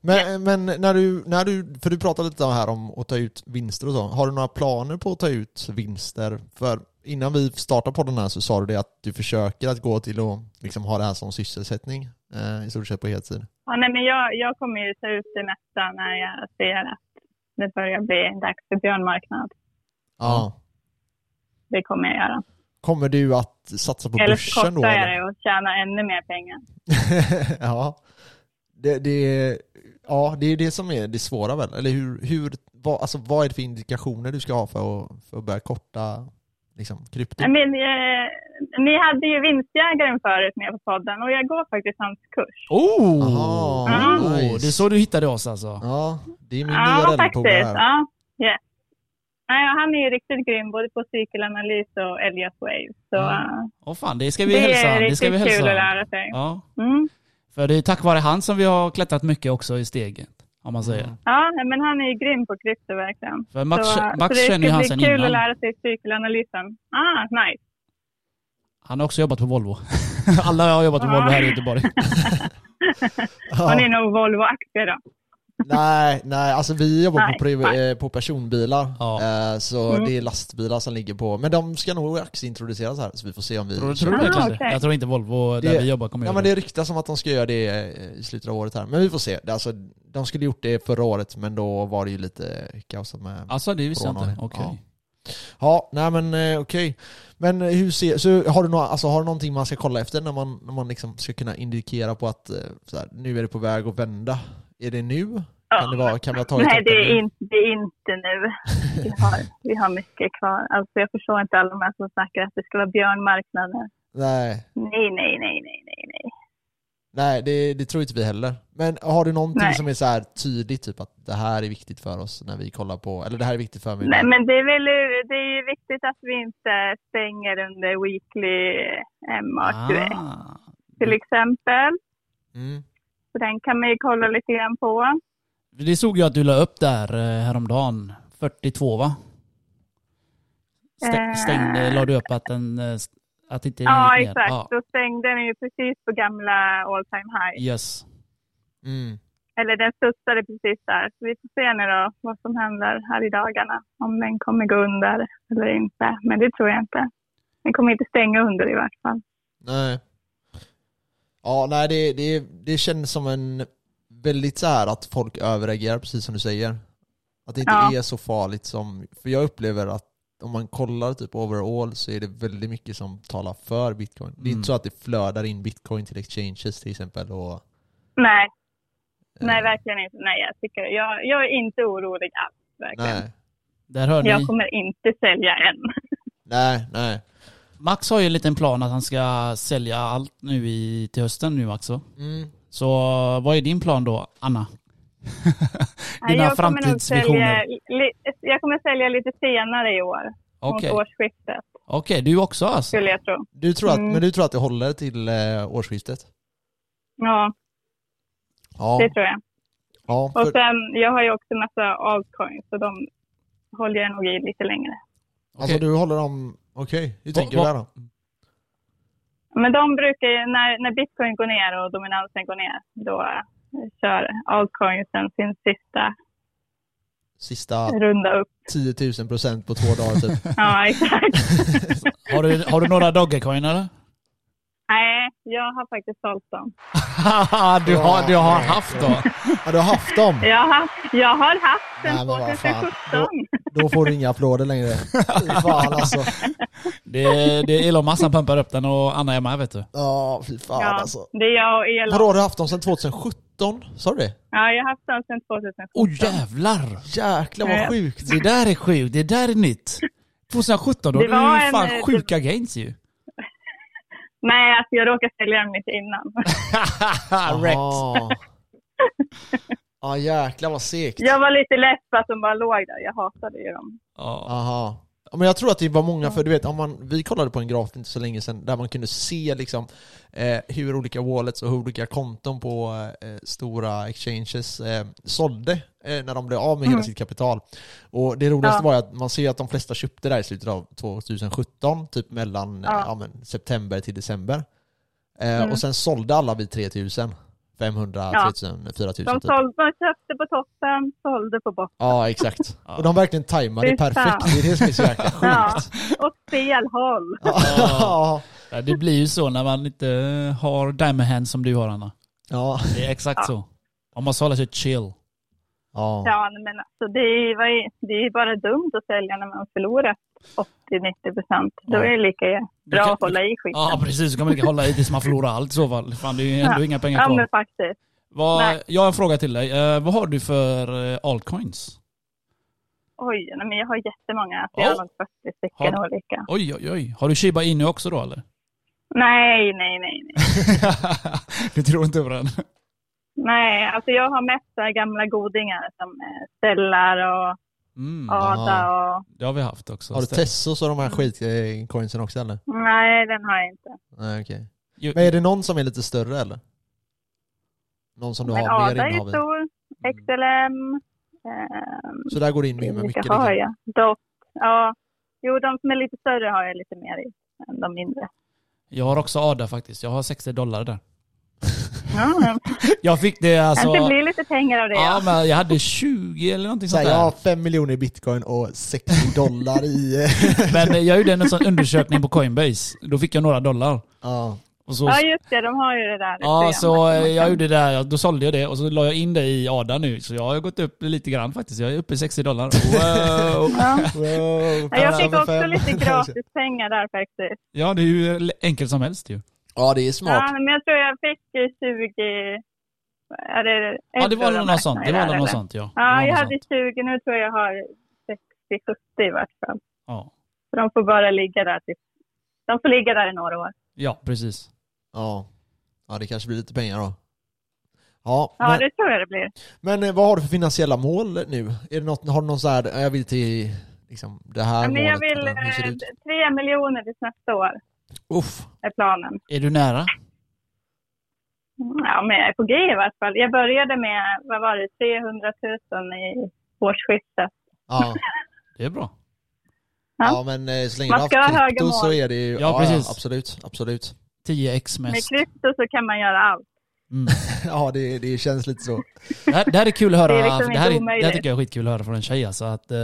Men, men när, du, när du, för du pratade lite här om att ta ut vinster och så. Har du några planer på att ta ut vinster? För innan vi startade podden här så sa du det att du försöker att gå till och liksom ha det här som sysselsättning eh, i stort sett på heltid. Ja, nej, men jag, jag kommer ju ta ut det mesta när jag ser att det börjar bli dags för björnmarknad. Ja. Det kommer jag göra. Kommer du att satsa på Eller så börsen då? kostar jag Eller? det och tjänar ännu mer pengar. [LAUGHS] ja. Det, det, ja, det är det som är det svåra väl? Eller hur, hur vad, alltså, vad är det för indikationer du ska ha för att, för att börja korta liksom, krypto? Nej, Men, eh, ni hade ju vinstjägaren förut med på podden och jag går faktiskt hans kurs. Oh! Aha, oh. nice. Det är så du hittade oss alltså? Ja, det är min Ja, nya rallpolare faktiskt. här. Ja, yes. Nej, han är ju riktigt grym både på cykelanalys och Elliot Wave. Så eh, Åh fan, det Mm. ska vi det hälsa. är Det ska riktigt vi kul att hälsa. lära sig. Ja. Mm. För det är tack vare han som vi har klättrat mycket också i steget. Om man säger. Ja, nej, men han är ju grym på krypto verkligen. För Max, så, eh, Max så det känner ju han ska sen bli kul att innan. lära sig cykelanalysen. Ah, nice. Han har också jobbat på Volvo. [LAUGHS] Alla har jobbat på Ja. Volvo här [LAUGHS] i Göteborg. Har ni Ja. nog Volvo-aktier då? Nej, nej, alltså vi jobbar Nej, på, priv- eh, på personbilar. Ja. Eh, så Mm. det är lastbilar som ligger på. Men de ska nog aktieintroduceras här, så vi får se om vi... Tror, tror du Ah, verkligen det? okej. Jag tror inte Volvo där Det- vi jobbar kommer Ja göra men det. det ryktas som att de ska göra det eh, i slutet av året här. Men vi får se. Det är Alltså, de skulle gjort det förra året men då var det ju lite kaos med... Ja, Alltså det visste jag inte. Corona, Okej. ja. nej men eh, okej. Men eh, hur ser... Så har du, några, alltså, har du någonting man ska kolla efter när man, när man liksom ska kunna indikera på att eh, så här, nu är det på väg att vända? Är det nu? Kan, det vara, kan vi ha tagit Nej, upp det nu? är, inte, det är inte nu. Vi har, vi har mycket kvar. Alltså, jag förstår inte alla de här som snackar att det ska vara björnmarknader. Nej. Nej, nej, nej, nej, nej, nej. Nej, det, det tror inte vi heller. Men har du någonting Nej. som är så här tydligt, typ att det här är viktigt för oss när vi kollar på, eller det här är viktigt för mig? Nej, men det är väl det är ju viktigt att vi inte stänger under Weekly eh, MA21 Ah. till exempel. Mm. Så den kan man ju kolla lite grann på. Det såg jag att du la upp där eh, häromdagen. 42 va? Stäng, Eh. stängde, la du upp att den... eh, st- Att inte den Ja, gick ner. exakt. Då stängde den ju precis på gamla all time high. Yes. Mm. Eller den studsade precis där. Så vi får se nu då vad som händer här i dagarna. Om den kommer gå under eller inte. Men det tror jag inte. Den kommer inte stänga under i vart fall. Nej. Ja, nej det, det, det känns som en väldigt så här att folk överreagerar precis som du säger. Att det inte Ja. är så farligt som, för jag upplever att om man kollar typ overall så är det väldigt mycket som talar för bitcoin. Det är Mm. inte så att det flödar in bitcoin till exchanges till exempel. Och, eh, Nej, nej verkligen inte. Nej, jag, tycker, jag, jag är inte orolig alls. Verkligen. Nej, Där hör ni. Jag kommer inte sälja än. nej, nej. Max har ju en liten plan att han ska sälja allt nu i, till hösten nu Max. va? Mm. Så vad är din plan då, [LAUGHS] Anna? Nej, Dina jag kommer nog sälja, framtidsvisioner? li, jag kommer sälja lite senare i år. Okej, Mot årsskiftet, Okej, du också alltså? skulle jag tro. Du tror att, Mm. Men du tror att det håller till eh, årsskiftet? Ja, Ja. det tror jag. ja Och för, sen, jag har ju också massa altcoins, så de håller jag nog i lite längre. alltså Okej. du håller dem... Okej, hur tänker du va- där då? Men de brukar ju, när, när bitcoin går ner och dominansen går ner, då eh, kör altcoinsen sin sista Sista runda upp. 10 000 procent på två dagar typ. [LAUGHS] Ja, exakt. Har du, har du några Dogecoin eller? [LAUGHS] Nej, jag har faktiskt sålt dem. du, har, du har haft då? Ja, du har haft dem. Jag har, jag har haft Nej, men den vad fan. 2017. Då får du inga applåder längre. [LAUGHS] Fy fan alltså. Det, det är Elon Musk som pumpar upp den och Anna är med vet du. Ja, fy fan Ja, alltså. det är jag och Elon. Vadå, har du haft dem sedan 2017? Sa du det? Ja, jag har haft den sedan 2017. Åh oh, jävlar! Jäklar vad Nej. sjukt. Det där är sjukt, det där är nytt. 2017, då Det hade du var ju en, fan eh, sjuka gains ju. [LAUGHS] Nej, alltså jag råkade sälja den lite innan. Rex. Jaha. Ja jäklar vad segt. Jag var lite less på att de bara låg där. Jag hatade ju dem. Ja. Aha. Ja, Men jag tror att det var många, för du vet, om man, vi kollade på en graf för inte så länge sedan där man kunde se liksom, eh, hur olika wallets och hur olika konton på eh, stora exchanges eh, sålde eh, när de blev av med hela Mm. sitt kapital. Och det roligaste Ja. var ju att man ser att de flesta köpte där i slutet av 2017, typ mellan eh, Ja. ja, men, september till december. Eh, Mm. Och sen sålde alla vid 3000. 500, Ja. 3000, 4000 De, typ. sålde, de köpte på toppen, sålde på botten. Ja, exakt. Och de verkligen tajmade det Fy fan. perfekt. Det är det som är så jäkla sjukt. Ja, åt fel håll. [LAUGHS] Ja. Ja, Det blir ju så när man inte eh, har diamond hands som du har Anna. Ja. Det är exakt så. Man måste hålla sig chill. Ja. Ja, men alltså, det, är, vad är- det är bara dumt att sälja när man förlorat 80-90 procent. Då är det lika bra kan- att hålla i skiten. Ja precis, så kan man inte hålla i tills man förlorar allt i så fall. Fan det är ju ändå Ja. inga pengar Ja, men kvar. faktiskt. Vad, nej. jag har en fråga till dig. Eh, vad har du för eh, altcoins? Oj, nej, men jag har jättemånga. Alltså, Ja. jag har nog 40 stycken Har- olika. Oj oj oj. Har du Shiba Inu också då [LAUGHS] eller? Nej, nej, nej. nej. du tror inte på den? nej alltså, jag har mest så här gamla godingar som eh, Stellar och Mm, aha. Ada och... Det har vi haft också. Har du Ställ- Tessos och de här skitcoinsen också eller? Nej, den har jag inte. Nej okej. Ju- Men är det någon som är lite större eller? Någon som du Men har Ada mer är ju innehav i? stor. XLM. ehm, Så där går det in med mycket? Vilka har liksom. jag? Dock, ja. Jo, de som är lite större har jag lite mer i än de mindre. Jag har också ADA faktiskt. Jag har 60 dollar där. Mm. Jag fick det alltså... det blir lite pengar av det. Ja Ja. men jag hade 20 eller någonting Så här, sånt jag har där. 5 miljoner i bitcoin och 60 [LAUGHS] dollar i... eh, Men eh, jag gjorde en sån undersökning på Coinbase. Då fick jag några dollar. ja. Och så, ja, just det. De har ju det där. Ja, programmet. så eh, jag gjorde det där. Då sålde jag det och så la jag in det i ADA nu. Så jag har gått upp lite grann faktiskt. Jag är uppe i 60 [LAUGHS] dollar. Wow. [LAUGHS] Ja. Wow, Ja, jag fick fem. också lite gratis pengar där faktiskt. Ja, det är ju enkelt som helst ju. [LAUGHS] Ja det är smart. Ja, men jag tror jag fick eh, 20... Är det Ja, det var euro de väl räknar något sånt. i Det var där, väl eller? något sånt, ja. Det var Ja, jag något hade sånt. 20. Nu tror jag jag har 60-70 i vart fall. Ja. Så de får bara ligga där. Typ. De får ligga där i några år. ja, precis. Ja. ja det kanske blir lite pengar då. Ja, Ja, men- det tror jag det blir. Men eh, vad har du för finansiella mål nu? Är det något, har du någon så här, eh, jag vill till liksom, det här Ja, men jag målet? vill eller hur ser det ut? eh, tre miljoner till nästa år Uff, är planen. Är du nära? Mm, Ja, men jag är på G i vart fall. Jag började med, vad var det, 300 000 i årsskiftet. ja. Det är bra. [LAUGHS] Ja. ja men eh, så länge Man du ska har ha haft höga krypto så mål. är det ju, Ja, ja, precis. ja absolut, absolut. [LAUGHS] 10x Med mest. krypto så kan man göra allt. Mm. Ja det, det känns lite så. Det, här, det här är kul att höra. [LAUGHS] Det Det, är liksom inte här, är, det här omöjligt. tycker jag är skitkul att höra från en tjej. Alltså att eh,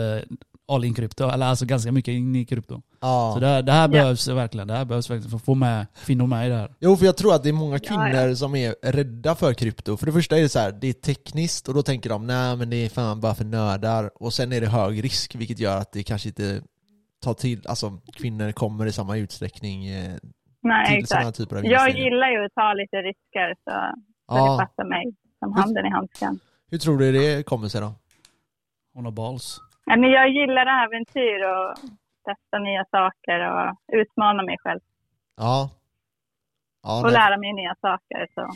all in krypto, eller alltså ganska mycket in i krypto. Så Ja. det här, det här behövs verkligen. Det här behövs verkligen för att få med kvinnor med i det här. Jo för jag tror att det är många kvinnor Ja, som är rädda för krypto. För det första är det så här, det är tekniskt och då tänker de nej men det är fan bara för nördar. Och sen är det hög risk vilket gör att det kanske inte ta till, alltså kvinnor kommer i samma utsträckning eh, Nej, till sådana exakt. typer av Jag investeringar. gillar ju att ta lite risker så, så det ja. passar mig som handen i handsken. Hur tror du det kommer sig då? Hon har balls. Nej, men jag gillar äventyr och testa nya saker och utmana mig själv Ja. Ja, och nej. lära mig nya saker. Så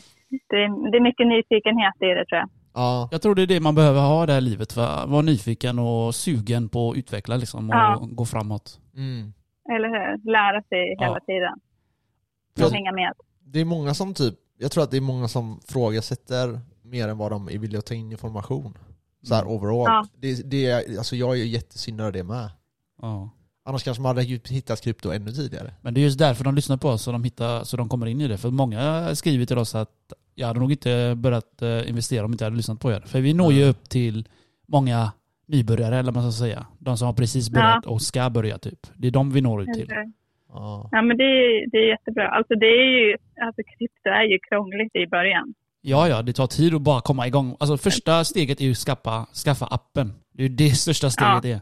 det, är, det är mycket nyfikenhet i det tror jag. ja. Jag tror det är det man behöver ha i det här livet. Va? Vara nyfiken och sugen på att utveckla liksom, och Ja. gå framåt. Mm. Eller hur? Lära sig Ja. hela tiden Jag- och hänga med. Det är många som typ, jag tror att det är många som frågasätter mer än vad de är villiga att ta in information. Så här overall. Ja. Det, det, är- alltså jag är ju jättesynd av det med. Ja. Annars kanske man hade ju hittat krypto ännu tidigare. Men det är just därför de lyssnar på oss så de, hittar, så de kommer in i det. För många skriver till oss att jag hade nog inte börjat eh, investera om jag inte hade lyssnat på er. För vi når ju upp till många nybörjare eller vad man ska säga. De som har precis börjat och ska börja typ. Det är de vi når ut Eller till. hur? Ja. Ja, men det är, det är jättebra. Alltså, det är ju, alltså, krypto är ju krångligt i början. Ja, ja, det tar tid att bara komma igång. Alltså första steget är ju att skaffa, skaffa appen. Det är ju det största steget är.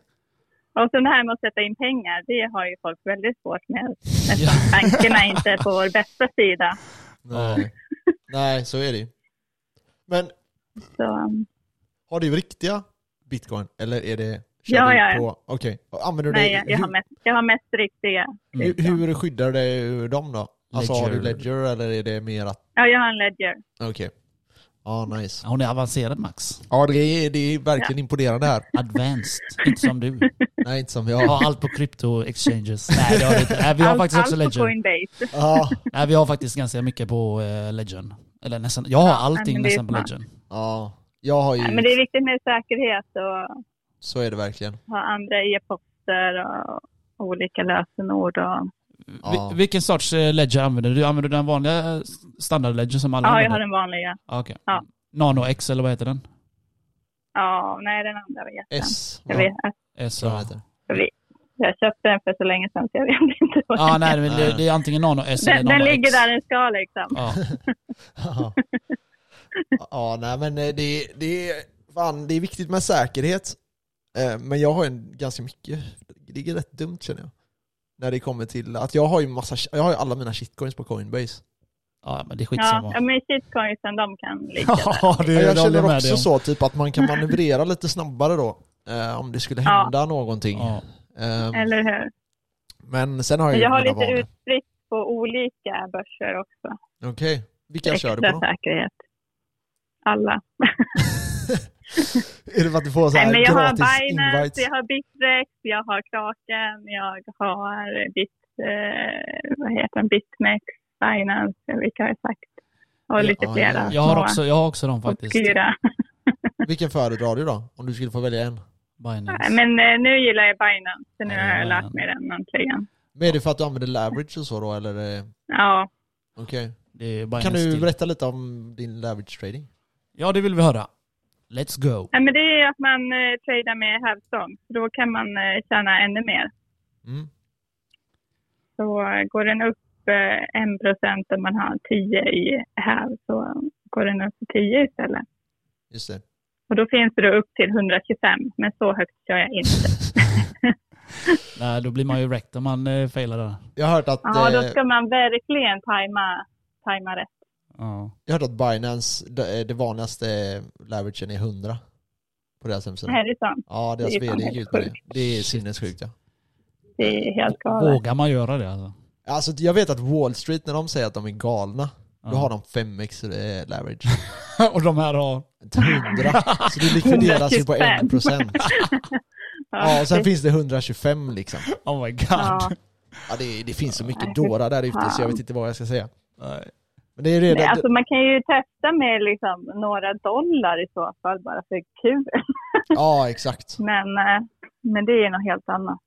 Och sen det här med att sätta in pengar, det har ju folk väldigt svårt med eftersom bankerna inte är på vår bästa sida. Nej. [LAUGHS] Nej, så är det ju. Men Så, um, har du riktiga bitcoin eller är det kör Ja, du ja, ja. på... Okej, använder du nej, det- jag, jag, har mest, jag har mest riktiga. hur, hur skyddar du dig ur dem då? Alltså har du Ledger. ledger eller är det mer att... Ja, jag har en ledger. Okej. Ja, nice. Hon är avancerad Max. Ja, det är, det är verkligen imponerande här. Advanced. inte som du. Nej, inte som jag. Jag har allt på crypto [LAUGHS] exchanges. Nej, det har vi inte. Nej, vi har Allt- faktiskt också allt Ledger. på Coinbase. Ja, Nej, vi har faktiskt ganska mycket på eh, Ledger. Eller nästan, jag har Ja, allting men det är nästan på smart. Ledger. ja. Jag har ju... Nej, men det är viktigt med säkerhet och Så är det verkligen. ha andra e-poster och olika lösenord. Och... Ja. Vi, vilken sorts eh, Ledger använder du? Använder du den vanliga eh, standard Ledger som alla Ja, jag har använder? den vanliga. Ah, okej. Ja. Nano X eller vad heter den? Ja, nej, den andra vet jag inte. S. Jag, vet, alltså, S Vad ja. heter det? jag köpte den för så länge sedan så jag vet inte vad Ah, den nej, men det, det är antingen Nano S eller Den, Nano den X. ligger där den ska liksom. Ja. Ja. ja, nej men eh, det, det, är- fan, det är viktigt med säkerhet. Eh, Men jag har en ganska mycket, det är rätt dumt känner jag. När det kommer till att jag har ju massa, jag har ju alla mina shitcoins på Coinbase. ja, men det är Ja, skitsamma. ja, men shitcoinsen de kan liksom, ligga. Ja, det Men är jag jag håller känner med dig också så om. typ att man kan manövrera lite snabbare då. eh, Om det skulle Ja. hända någonting. Ja. Eh, Eller hur? Men sen har jag Men ju jag har mina lite vanor. utspritt på olika börser också. Okej, vilka kör du Extra på då? säkerhet. Alla. [LAUGHS] Är det för att du får så Nej, här men jag har gratis Binance, invites? jag har Bitrex, jag har Kraken, jag har Bit, eh, vad heter den? Bitmex, Binance, vilka har jag sagt? Och lite ja, flera. ja. Jag har små. också, jag har också dem Och faktiskt. fyra. Vilken föredrar du då? Om du skulle få välja en. Binance. Nej, Men eh, nu gillar jag Binance, så nu Ja, har jag ja, lärt ja. mig den äntligen. Men är det för att du använder leverage och så då eller? är det- Ja, Okej. Det är Binance Kan du till. berätta lite om din leverage trading? Ja, det vill vi höra. Let's go. Nej, men det är att man eh, tradar med hävstång. Då kan man eh, tjäna ännu mer. Mm. Så eh, går den upp eh, 1 om man har 10 i häv så går den upp till 10 istället. Just det. Och då finns det då upp till 125, men så högt kör jag inte. Nej, då blir man ju wrecked om man eh, failar där. Jag har hört att, Ja, då eh, ska man verkligen tajma, tajma rätt. Ja. jag har hört att Binance, det, det vanligaste leveragen är 100 på deras hemsida. Nej, det är sant. Ja, deras det är fan vd gick helt ut med det. sjukt. Det är sinnessjukt ja. Det är helt galet. Vågar man göra det alltså? Alltså jag vet att Wall Street när de säger att de är galna, då Ja. har de 5x eh, leverage. [LAUGHS] Och de här har... [LAUGHS] 100. Så det likvideras ju på 125. 1%. Ja, och sen finns det 125 liksom. Oh my god. Ja. Ja, det, det finns så mycket dårar där ute så jag vet inte vad jag ska säga. Nej. Men det är redan... Nej, alltså man kan ju testa med liksom några dollar i så fall, bara för kul. Ja, exakt. Men, eh, men det är något helt annat.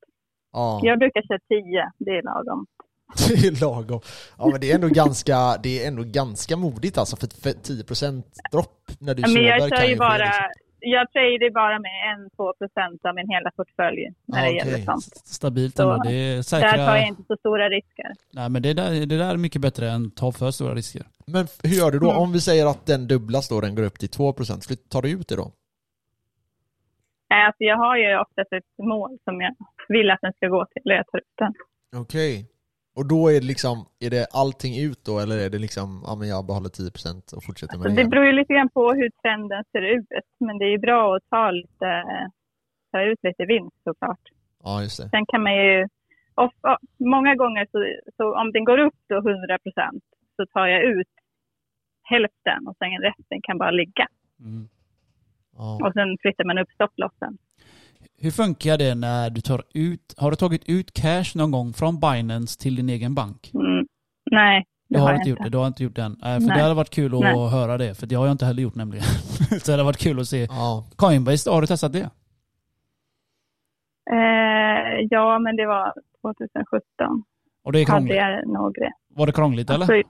Ja. Jag brukar köra 10, det är lagom. [LAUGHS] Det är lagom. Ja men det är ändå ganska, det är ändå ganska modigt alltså för, för 10% dropp när du Ja, Men jag kan kör ju ske, bara, liksom. jag trader ju bara med 1-2 procent av min hela portfölj när Ah, det okej. gäller sånt. S- Stabilt Så, ändå. Det är Där tar jag säkra... inte så stora risker. Nej, men det där, det där är mycket bättre än att ta för stora risker. Men f- hur gör du då? Mm. Om vi säger att den dubblas då, den går upp till 2%, flytt- tar du ut det då? Eh, Alltså jag har ju oftast ett mål som jag vill att den ska gå till och jag tar upp den. Okej. Och då är det liksom, är det allting ut då eller är det liksom, ja men jag behåller 10% och fortsätter Så med det? Alltså, det igen? beror ju lite grann på hur trenden ser ut. Men det är ju bra att ta, lite, ta ut lite vinst såklart. Ja just det. Sen kan man ju... Of, of, många gånger så, så om den går upp då 100 procent så tar jag ut hälften och sen resten kan bara ligga. Mm. Ja. Och sen flyttar man upp stopplossen. Hur funkar det när du tar ut, har du tagit ut cash någon gång från Binance till din egen bank? Mm. Nej, Du har inte gjort det, du har inte gjort den. Äh, för Nej. det hade varit kul att Nej. höra det, för det har jag inte heller gjort nämligen. [LAUGHS] så det hade varit kul att se. ja. Coinbase, har du testat det? Eh, ja, men det var 2017. Och det är Hade krångligt. jag några grejer. Var det krångligt eller? Alltså,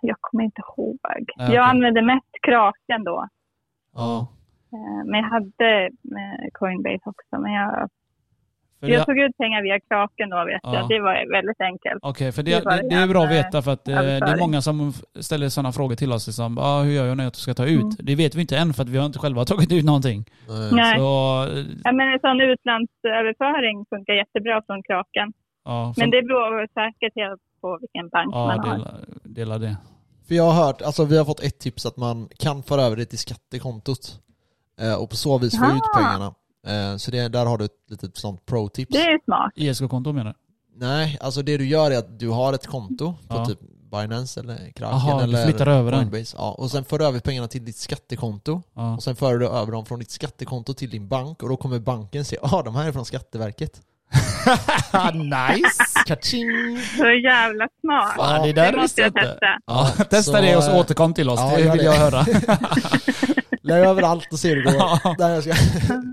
jag kommer inte ihåg. okej. Jag använde mest kraken då. Ja. Eh, Men jag hade eh, Coinbase också. Men jag, För det- jag tog ut pengar via kraken då vet Ja. jag. Det var väldigt enkelt. Okej, för det, Det var det, det är bra att en, eh, veta för att eh, det är överföring. många som f- ställer sådana frågor till oss. Liksom, ah, hur gör jag när jag ska ta ut? Mm. Det vet vi inte än för att vi har inte själva [LAUGHS] tagit ut någonting. Nej. Nej. Så, eh, Ja, men en sån utlandsöverföring funkar jättebra från kraken. ja, Men det beror säkert helt på vilken bank ja, man har. dela, dela det. För jag har hört, alltså vi har fått ett tips att man kan föra över det till skattekontot. Eh, och på så vis få Ah. ut pengarna. Eh, så det, där har du ett litet sånt pro-tips. Det är smart. ISK-konto menar du? Nej, alltså det du gör är att du har ett konto på Ja. typ Binance eller Kraken Jaha, du eller flyttar över den. Coinbase. Ja, och sen för du över pengarna till ditt skattekonto. [LAUGHS] Ja. Och sen för du över dem från ditt skattekonto till din bank och då kommer banken se, ah de här är från Skatteverket. Ah, [LAUGHS] nice! Kaching! Så jävla smart. Fan, det där det måste visste jag jag inte. testa. Ja, [LAUGHS] testa så, det och så eh, återkom till oss. ja, det gör vill det. jag [LAUGHS] höra. Lägg över allt och se hur det [LAUGHS] Ja. går. Där jag ska...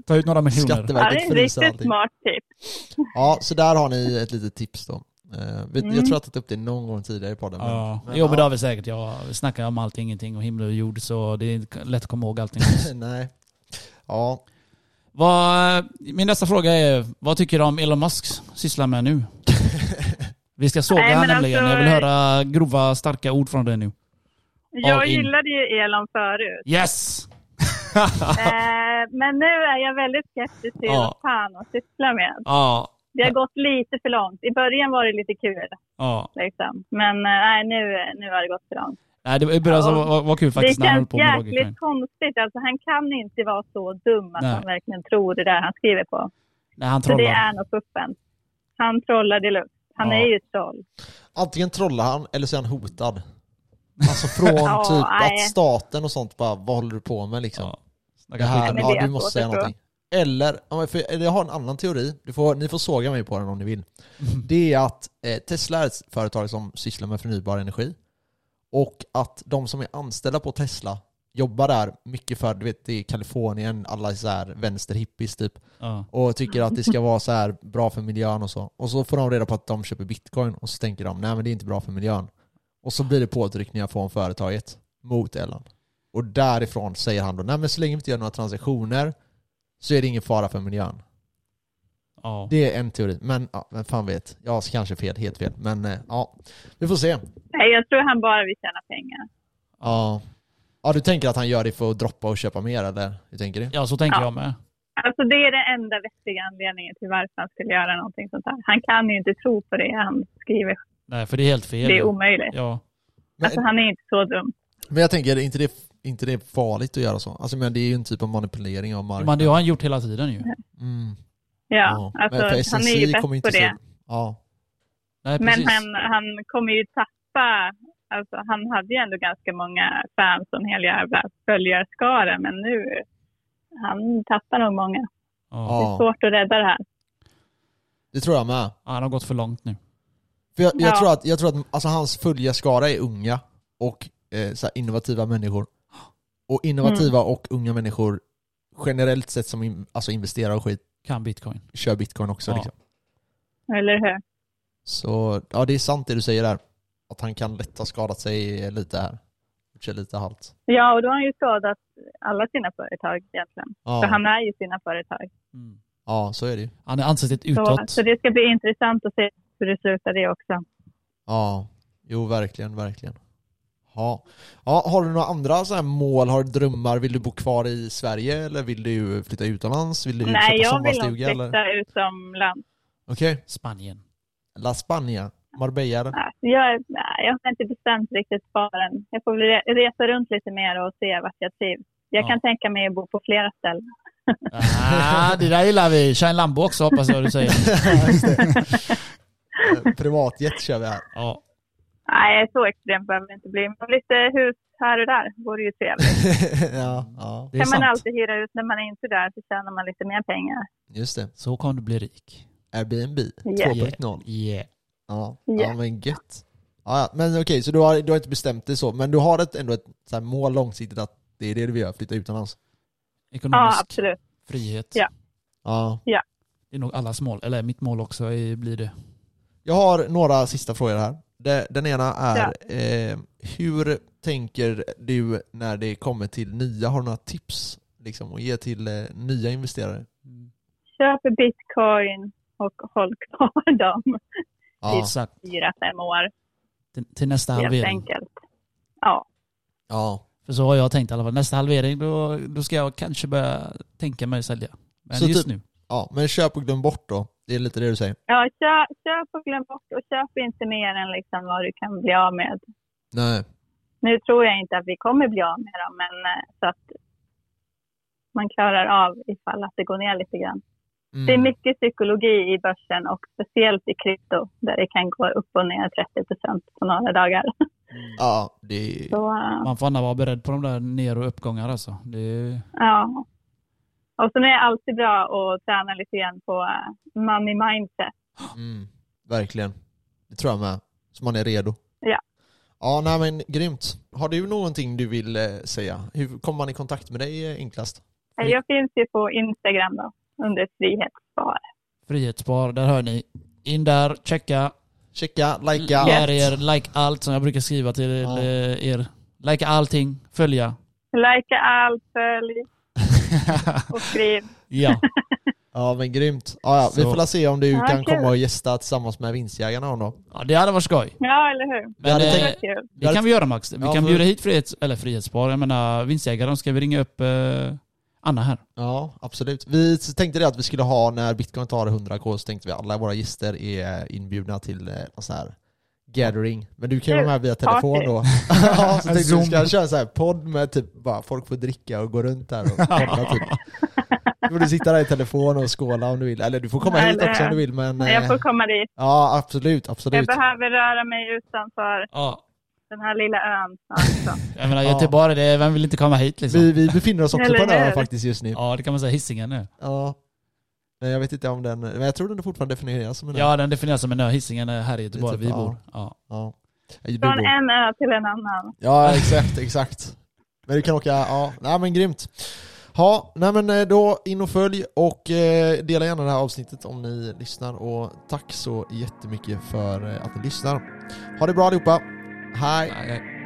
Ta ut några miljoner. Ja, det är Skatteverket ett fryser riktigt allting. smart tips. Ja, så där har ni ett litet tips då. Eh, vet, Mm. Jag tror att jag tagit upp det någon gång tidigare i podden. men- Ja. men Jo men det ja, har vi säkert. Jag snackar om allt, ingenting och himmel och jord så det är lätt att komma ihåg allting. [LAUGHS] Nej. Ja. Vad, min nästa fråga är, vad tycker du om Elon Musk sysslar med [LAUGHS] nu? Vi ska såga Nej, han men nämligen. alltså- Jag vill höra grova, starka ord från dig nu. All Jag in. gillade ju Elon [LAUGHS] förut. Yes! Eh, men nu är jag väldigt skeptisk till Ja. vad fan han sysslar med. Ja. Det har gått lite för långt. I början var det lite kul, ja. liksom. men eh, nej, nu, nu har det gått för långt. Nej, det började alltså, Ja. vara vara kul faktiskt det när han höll känns på med Roger jäkligt Klein. konstigt. Alltså, han kan inte vara så dum att Nej. han verkligen tror det där han skriver på. Nej, han Så det trollar. är nog fuffen. Han trollar deluxe. Han Ja. är ju ett troll. Antingen trollar han eller så är han hotad. Alltså från [LAUGHS] Ja, typ nej. att staten och sånt bara, vad håller du på med liksom? Ja. Snackar Det här, skit om men allt. ja, det du är svårt måste att säga tro. någonting. Eller, ja, men för eller jag har en annan teori, du får, ni får såga mig på den om ni vill. Det är att eh, Tesla är ett företag som sysslar med förnybar energi. Och att de som är anställda på Tesla jobbar där mycket för, du vet, det är Kalifornien, alla är så här vänsterhippies typ. Ja. Och tycker att det ska vara så här bra för miljön och så. Och så får de reda på att de köper bitcoin och så tänker de, nej men det är inte bra för miljön. Och så blir det påtryckningar från företaget mot Elon. Och därifrån säger han då, nej men så länge vi inte gör några transaktioner så är det ingen fara för miljön. Ja. Det är en teori, men ja, vem fan vet. Jag har kanske fel, helt fel. Men eh, ja, vi får se. Nej, jag tror han bara vill tjäna pengar. Ja. ja, du tänker att han gör det för att droppa och köpa mer eller? Hur tänker du? ja, så tänker Ja. jag med. Alltså, det är den enda vettiga anledningen till varför han skulle göra någonting sånt här. Han kan ju inte tro på det han skriver. Nej, för det är helt fel. Det är omöjligt. ja. Men, Alltså, han är inte så dum. men jag tänker, är inte det, inte det farligt att göra så? Alltså men det är ju en typ av manipulering av marknaden. Men det har han gjort hela tiden ju. Mm. Ja, alltså, men för han är SNC kommer ju bäst på inte det. så- Ja. Nej, Men precis. han, han kommer ju tappa, alltså han hade ju ändå ganska många fans och en hel jävla följarskara, men nu, han tappar nog många. Ja. Ja. Det är svårt att rädda det här. det tror jag med. Han har gått för långt nu. För jag, jag Ja. tror att, jag tror att alltså, hans följarskara är unga och eh, så här, innovativa människor. Och innovativa Mm. och unga människor generellt sett som in, alltså investerar och skit Kan bitcoin. kör bitcoin också. Ja. Liksom. Eller hur? Så ja, det är sant det du säger där. Att han kan lätt ha skadat sig lite här. Gjort sig lite halt. Ja, och då har han ju skadat alla sina företag egentligen. Ja, För han är ju sina företag. Mm. ja så är det ju. Han är ansiktet Så, utåt. så det ska bli intressant att se hur det slutar det också. Ja, jo verkligen, verkligen. Ja. ja. Har du några andra så här mål, har du drömmar? Vill du bo kvar i Sverige eller vill du flytta utomlands? Vill du Nej, köpa jag vill nog sommarstuga? eller? flytta utomlands. Okej, Spanien. La Spagna, Marbella. [LAUGHS] eller? Nej, Jag, är- nej, jag har inte bestämt riktigt svaren. Jag får väl re- resa runt lite mer och se vart jag trivs. Jag Ja. kan tänka mig att bo på flera ställen. Ah, det där gillar vi. Kör en Lambo också hoppas jag du säger. Eh, Privatjet kör vi här. [LAUGHS] [LAUGHS] Ja. Nej, så extremt behöver det inte bli. Men lite hus här och där vore ju trevligt. ja, ja, Det är kan man sant. Mm, alltid hyra ut när man är inte där så tjänar man lite mer pengar. just det. Så kan du bli rik. eh, Airbnb 2.0. Yeah. Ja, ja Yeah. men gött. Ja, ja. Men okej, så du har, du har inte bestämt dig så, men du har ett, ändå ett så här mål långsiktigt att det är det du vill göra, flytta utomlands? Ekonomisk Ja, absolut. frihet. Ja. Ja. Det är nog allas mål. Eller mitt mål också är, blir det. Jag har några sista frågor här. Det- Den ena är, eh, hur tänker du när det kommer till nya, har du några tips liksom, att ge till eh, nya investerare? Köp bitcoin och håll kvar dem Ja, Exakt. fyra, fem år Till, till nästa helt halvering. enkelt. Ja, ja. För så har jag tänkt i alla fall. Nästa halvering då, då ska jag kanske börja tänka mig att sälja. Men Så just typ- nu. ja men köp och glöm bort då. Det är lite det du säger. ja kö, köp och glöm bort och köp inte mer än liksom vad du kan bli av med. Nej. Nu tror jag inte att vi kommer bli av med dem, men eh, så att man klarar av ifall att det går ner lite grann. Mm. Det är mycket psykologi i börsen och speciellt i krypto där det kan gå upp och ner 30 procent på några dagar. Ja, det är... Så, eh, Man får gärna vara beredd på de där ner och uppgångar alltså. Det är, ja. Och sen är det alltid bra att träna lite grann på eh, money mindset. Mm, verkligen. Det tror jag med. Så man är redo. Ja. Ja, nej men grymt. Har du någonting du vill eh, säga? Hur kommer man i kontakt med dig eh, enklast? Eh, Jag finns ju på Instagram då, under frihetssvar. frihetsspar, där hör ni. In där, checka. Checka, likea. Lär er, like allt som jag brukar skriva till Ja. eh, er. Like allting, följa. Lajka allt, följ och skriv. ja, Ja men grymt. Ja, ja. Vi Så. får la se om du Ja, kan kul. komma och gästa tillsammans med vinstjägarna någon dag. ja, det hade varit skoj. Ja, eller hur? Jag Men hade eh, Det tänkt- var kul. det kan vi göra Max. Vi Ja, kan för- bjuda hit frihets, eller frihetspar. Jag menar vinstjägaren, ska vi ringa upp eh, Anna här? Ja, absolut. Vi tänkte det att vi skulle ha, när bitcoin tar 100k så tänkte vi alla våra gäster är inbjudna till eh, någon sån här gathering. Men du kan ju vara med via telefon då. [LAUGHS] ja, så tänkte vi Zoom. ska köra så här podd med typ bara folk får dricka och gå runt här och podda typ. Då får du sitta där i telefon och skåla om du vill. Eller du får komma hit Eller- också om du vill men... Jag eh, får komma dit. Ja, absolut, Jag absolut. behöver röra mig utanför Ja, den här lilla ön snart. så. jag menar Ja. Göteborg, det, vem vill inte komma hit liksom? Vi, vi befinner oss också Eller på en ö hur? faktiskt just nu. Ja, det kan man säga. Hisingen nu. Ja. Nej, jag vet inte om den... Men jag tror den fortfarande definieras som en ö. Ja, den definieras som en ö. Hisingen är här i Göteborg, typ, vi ja. bor. Ja. Ja. Du Från bor- en ö till en annan. Ja, exakt, exakt. Men du kan åka, ja, nej men grymt. Ja, nej men eh, då in och följ och eh, dela gärna det här avsnittet om ni lyssnar och tack så jättemycket för eh, att ni lyssnar. Ha det bra allihopa. Hej! Nej, nej.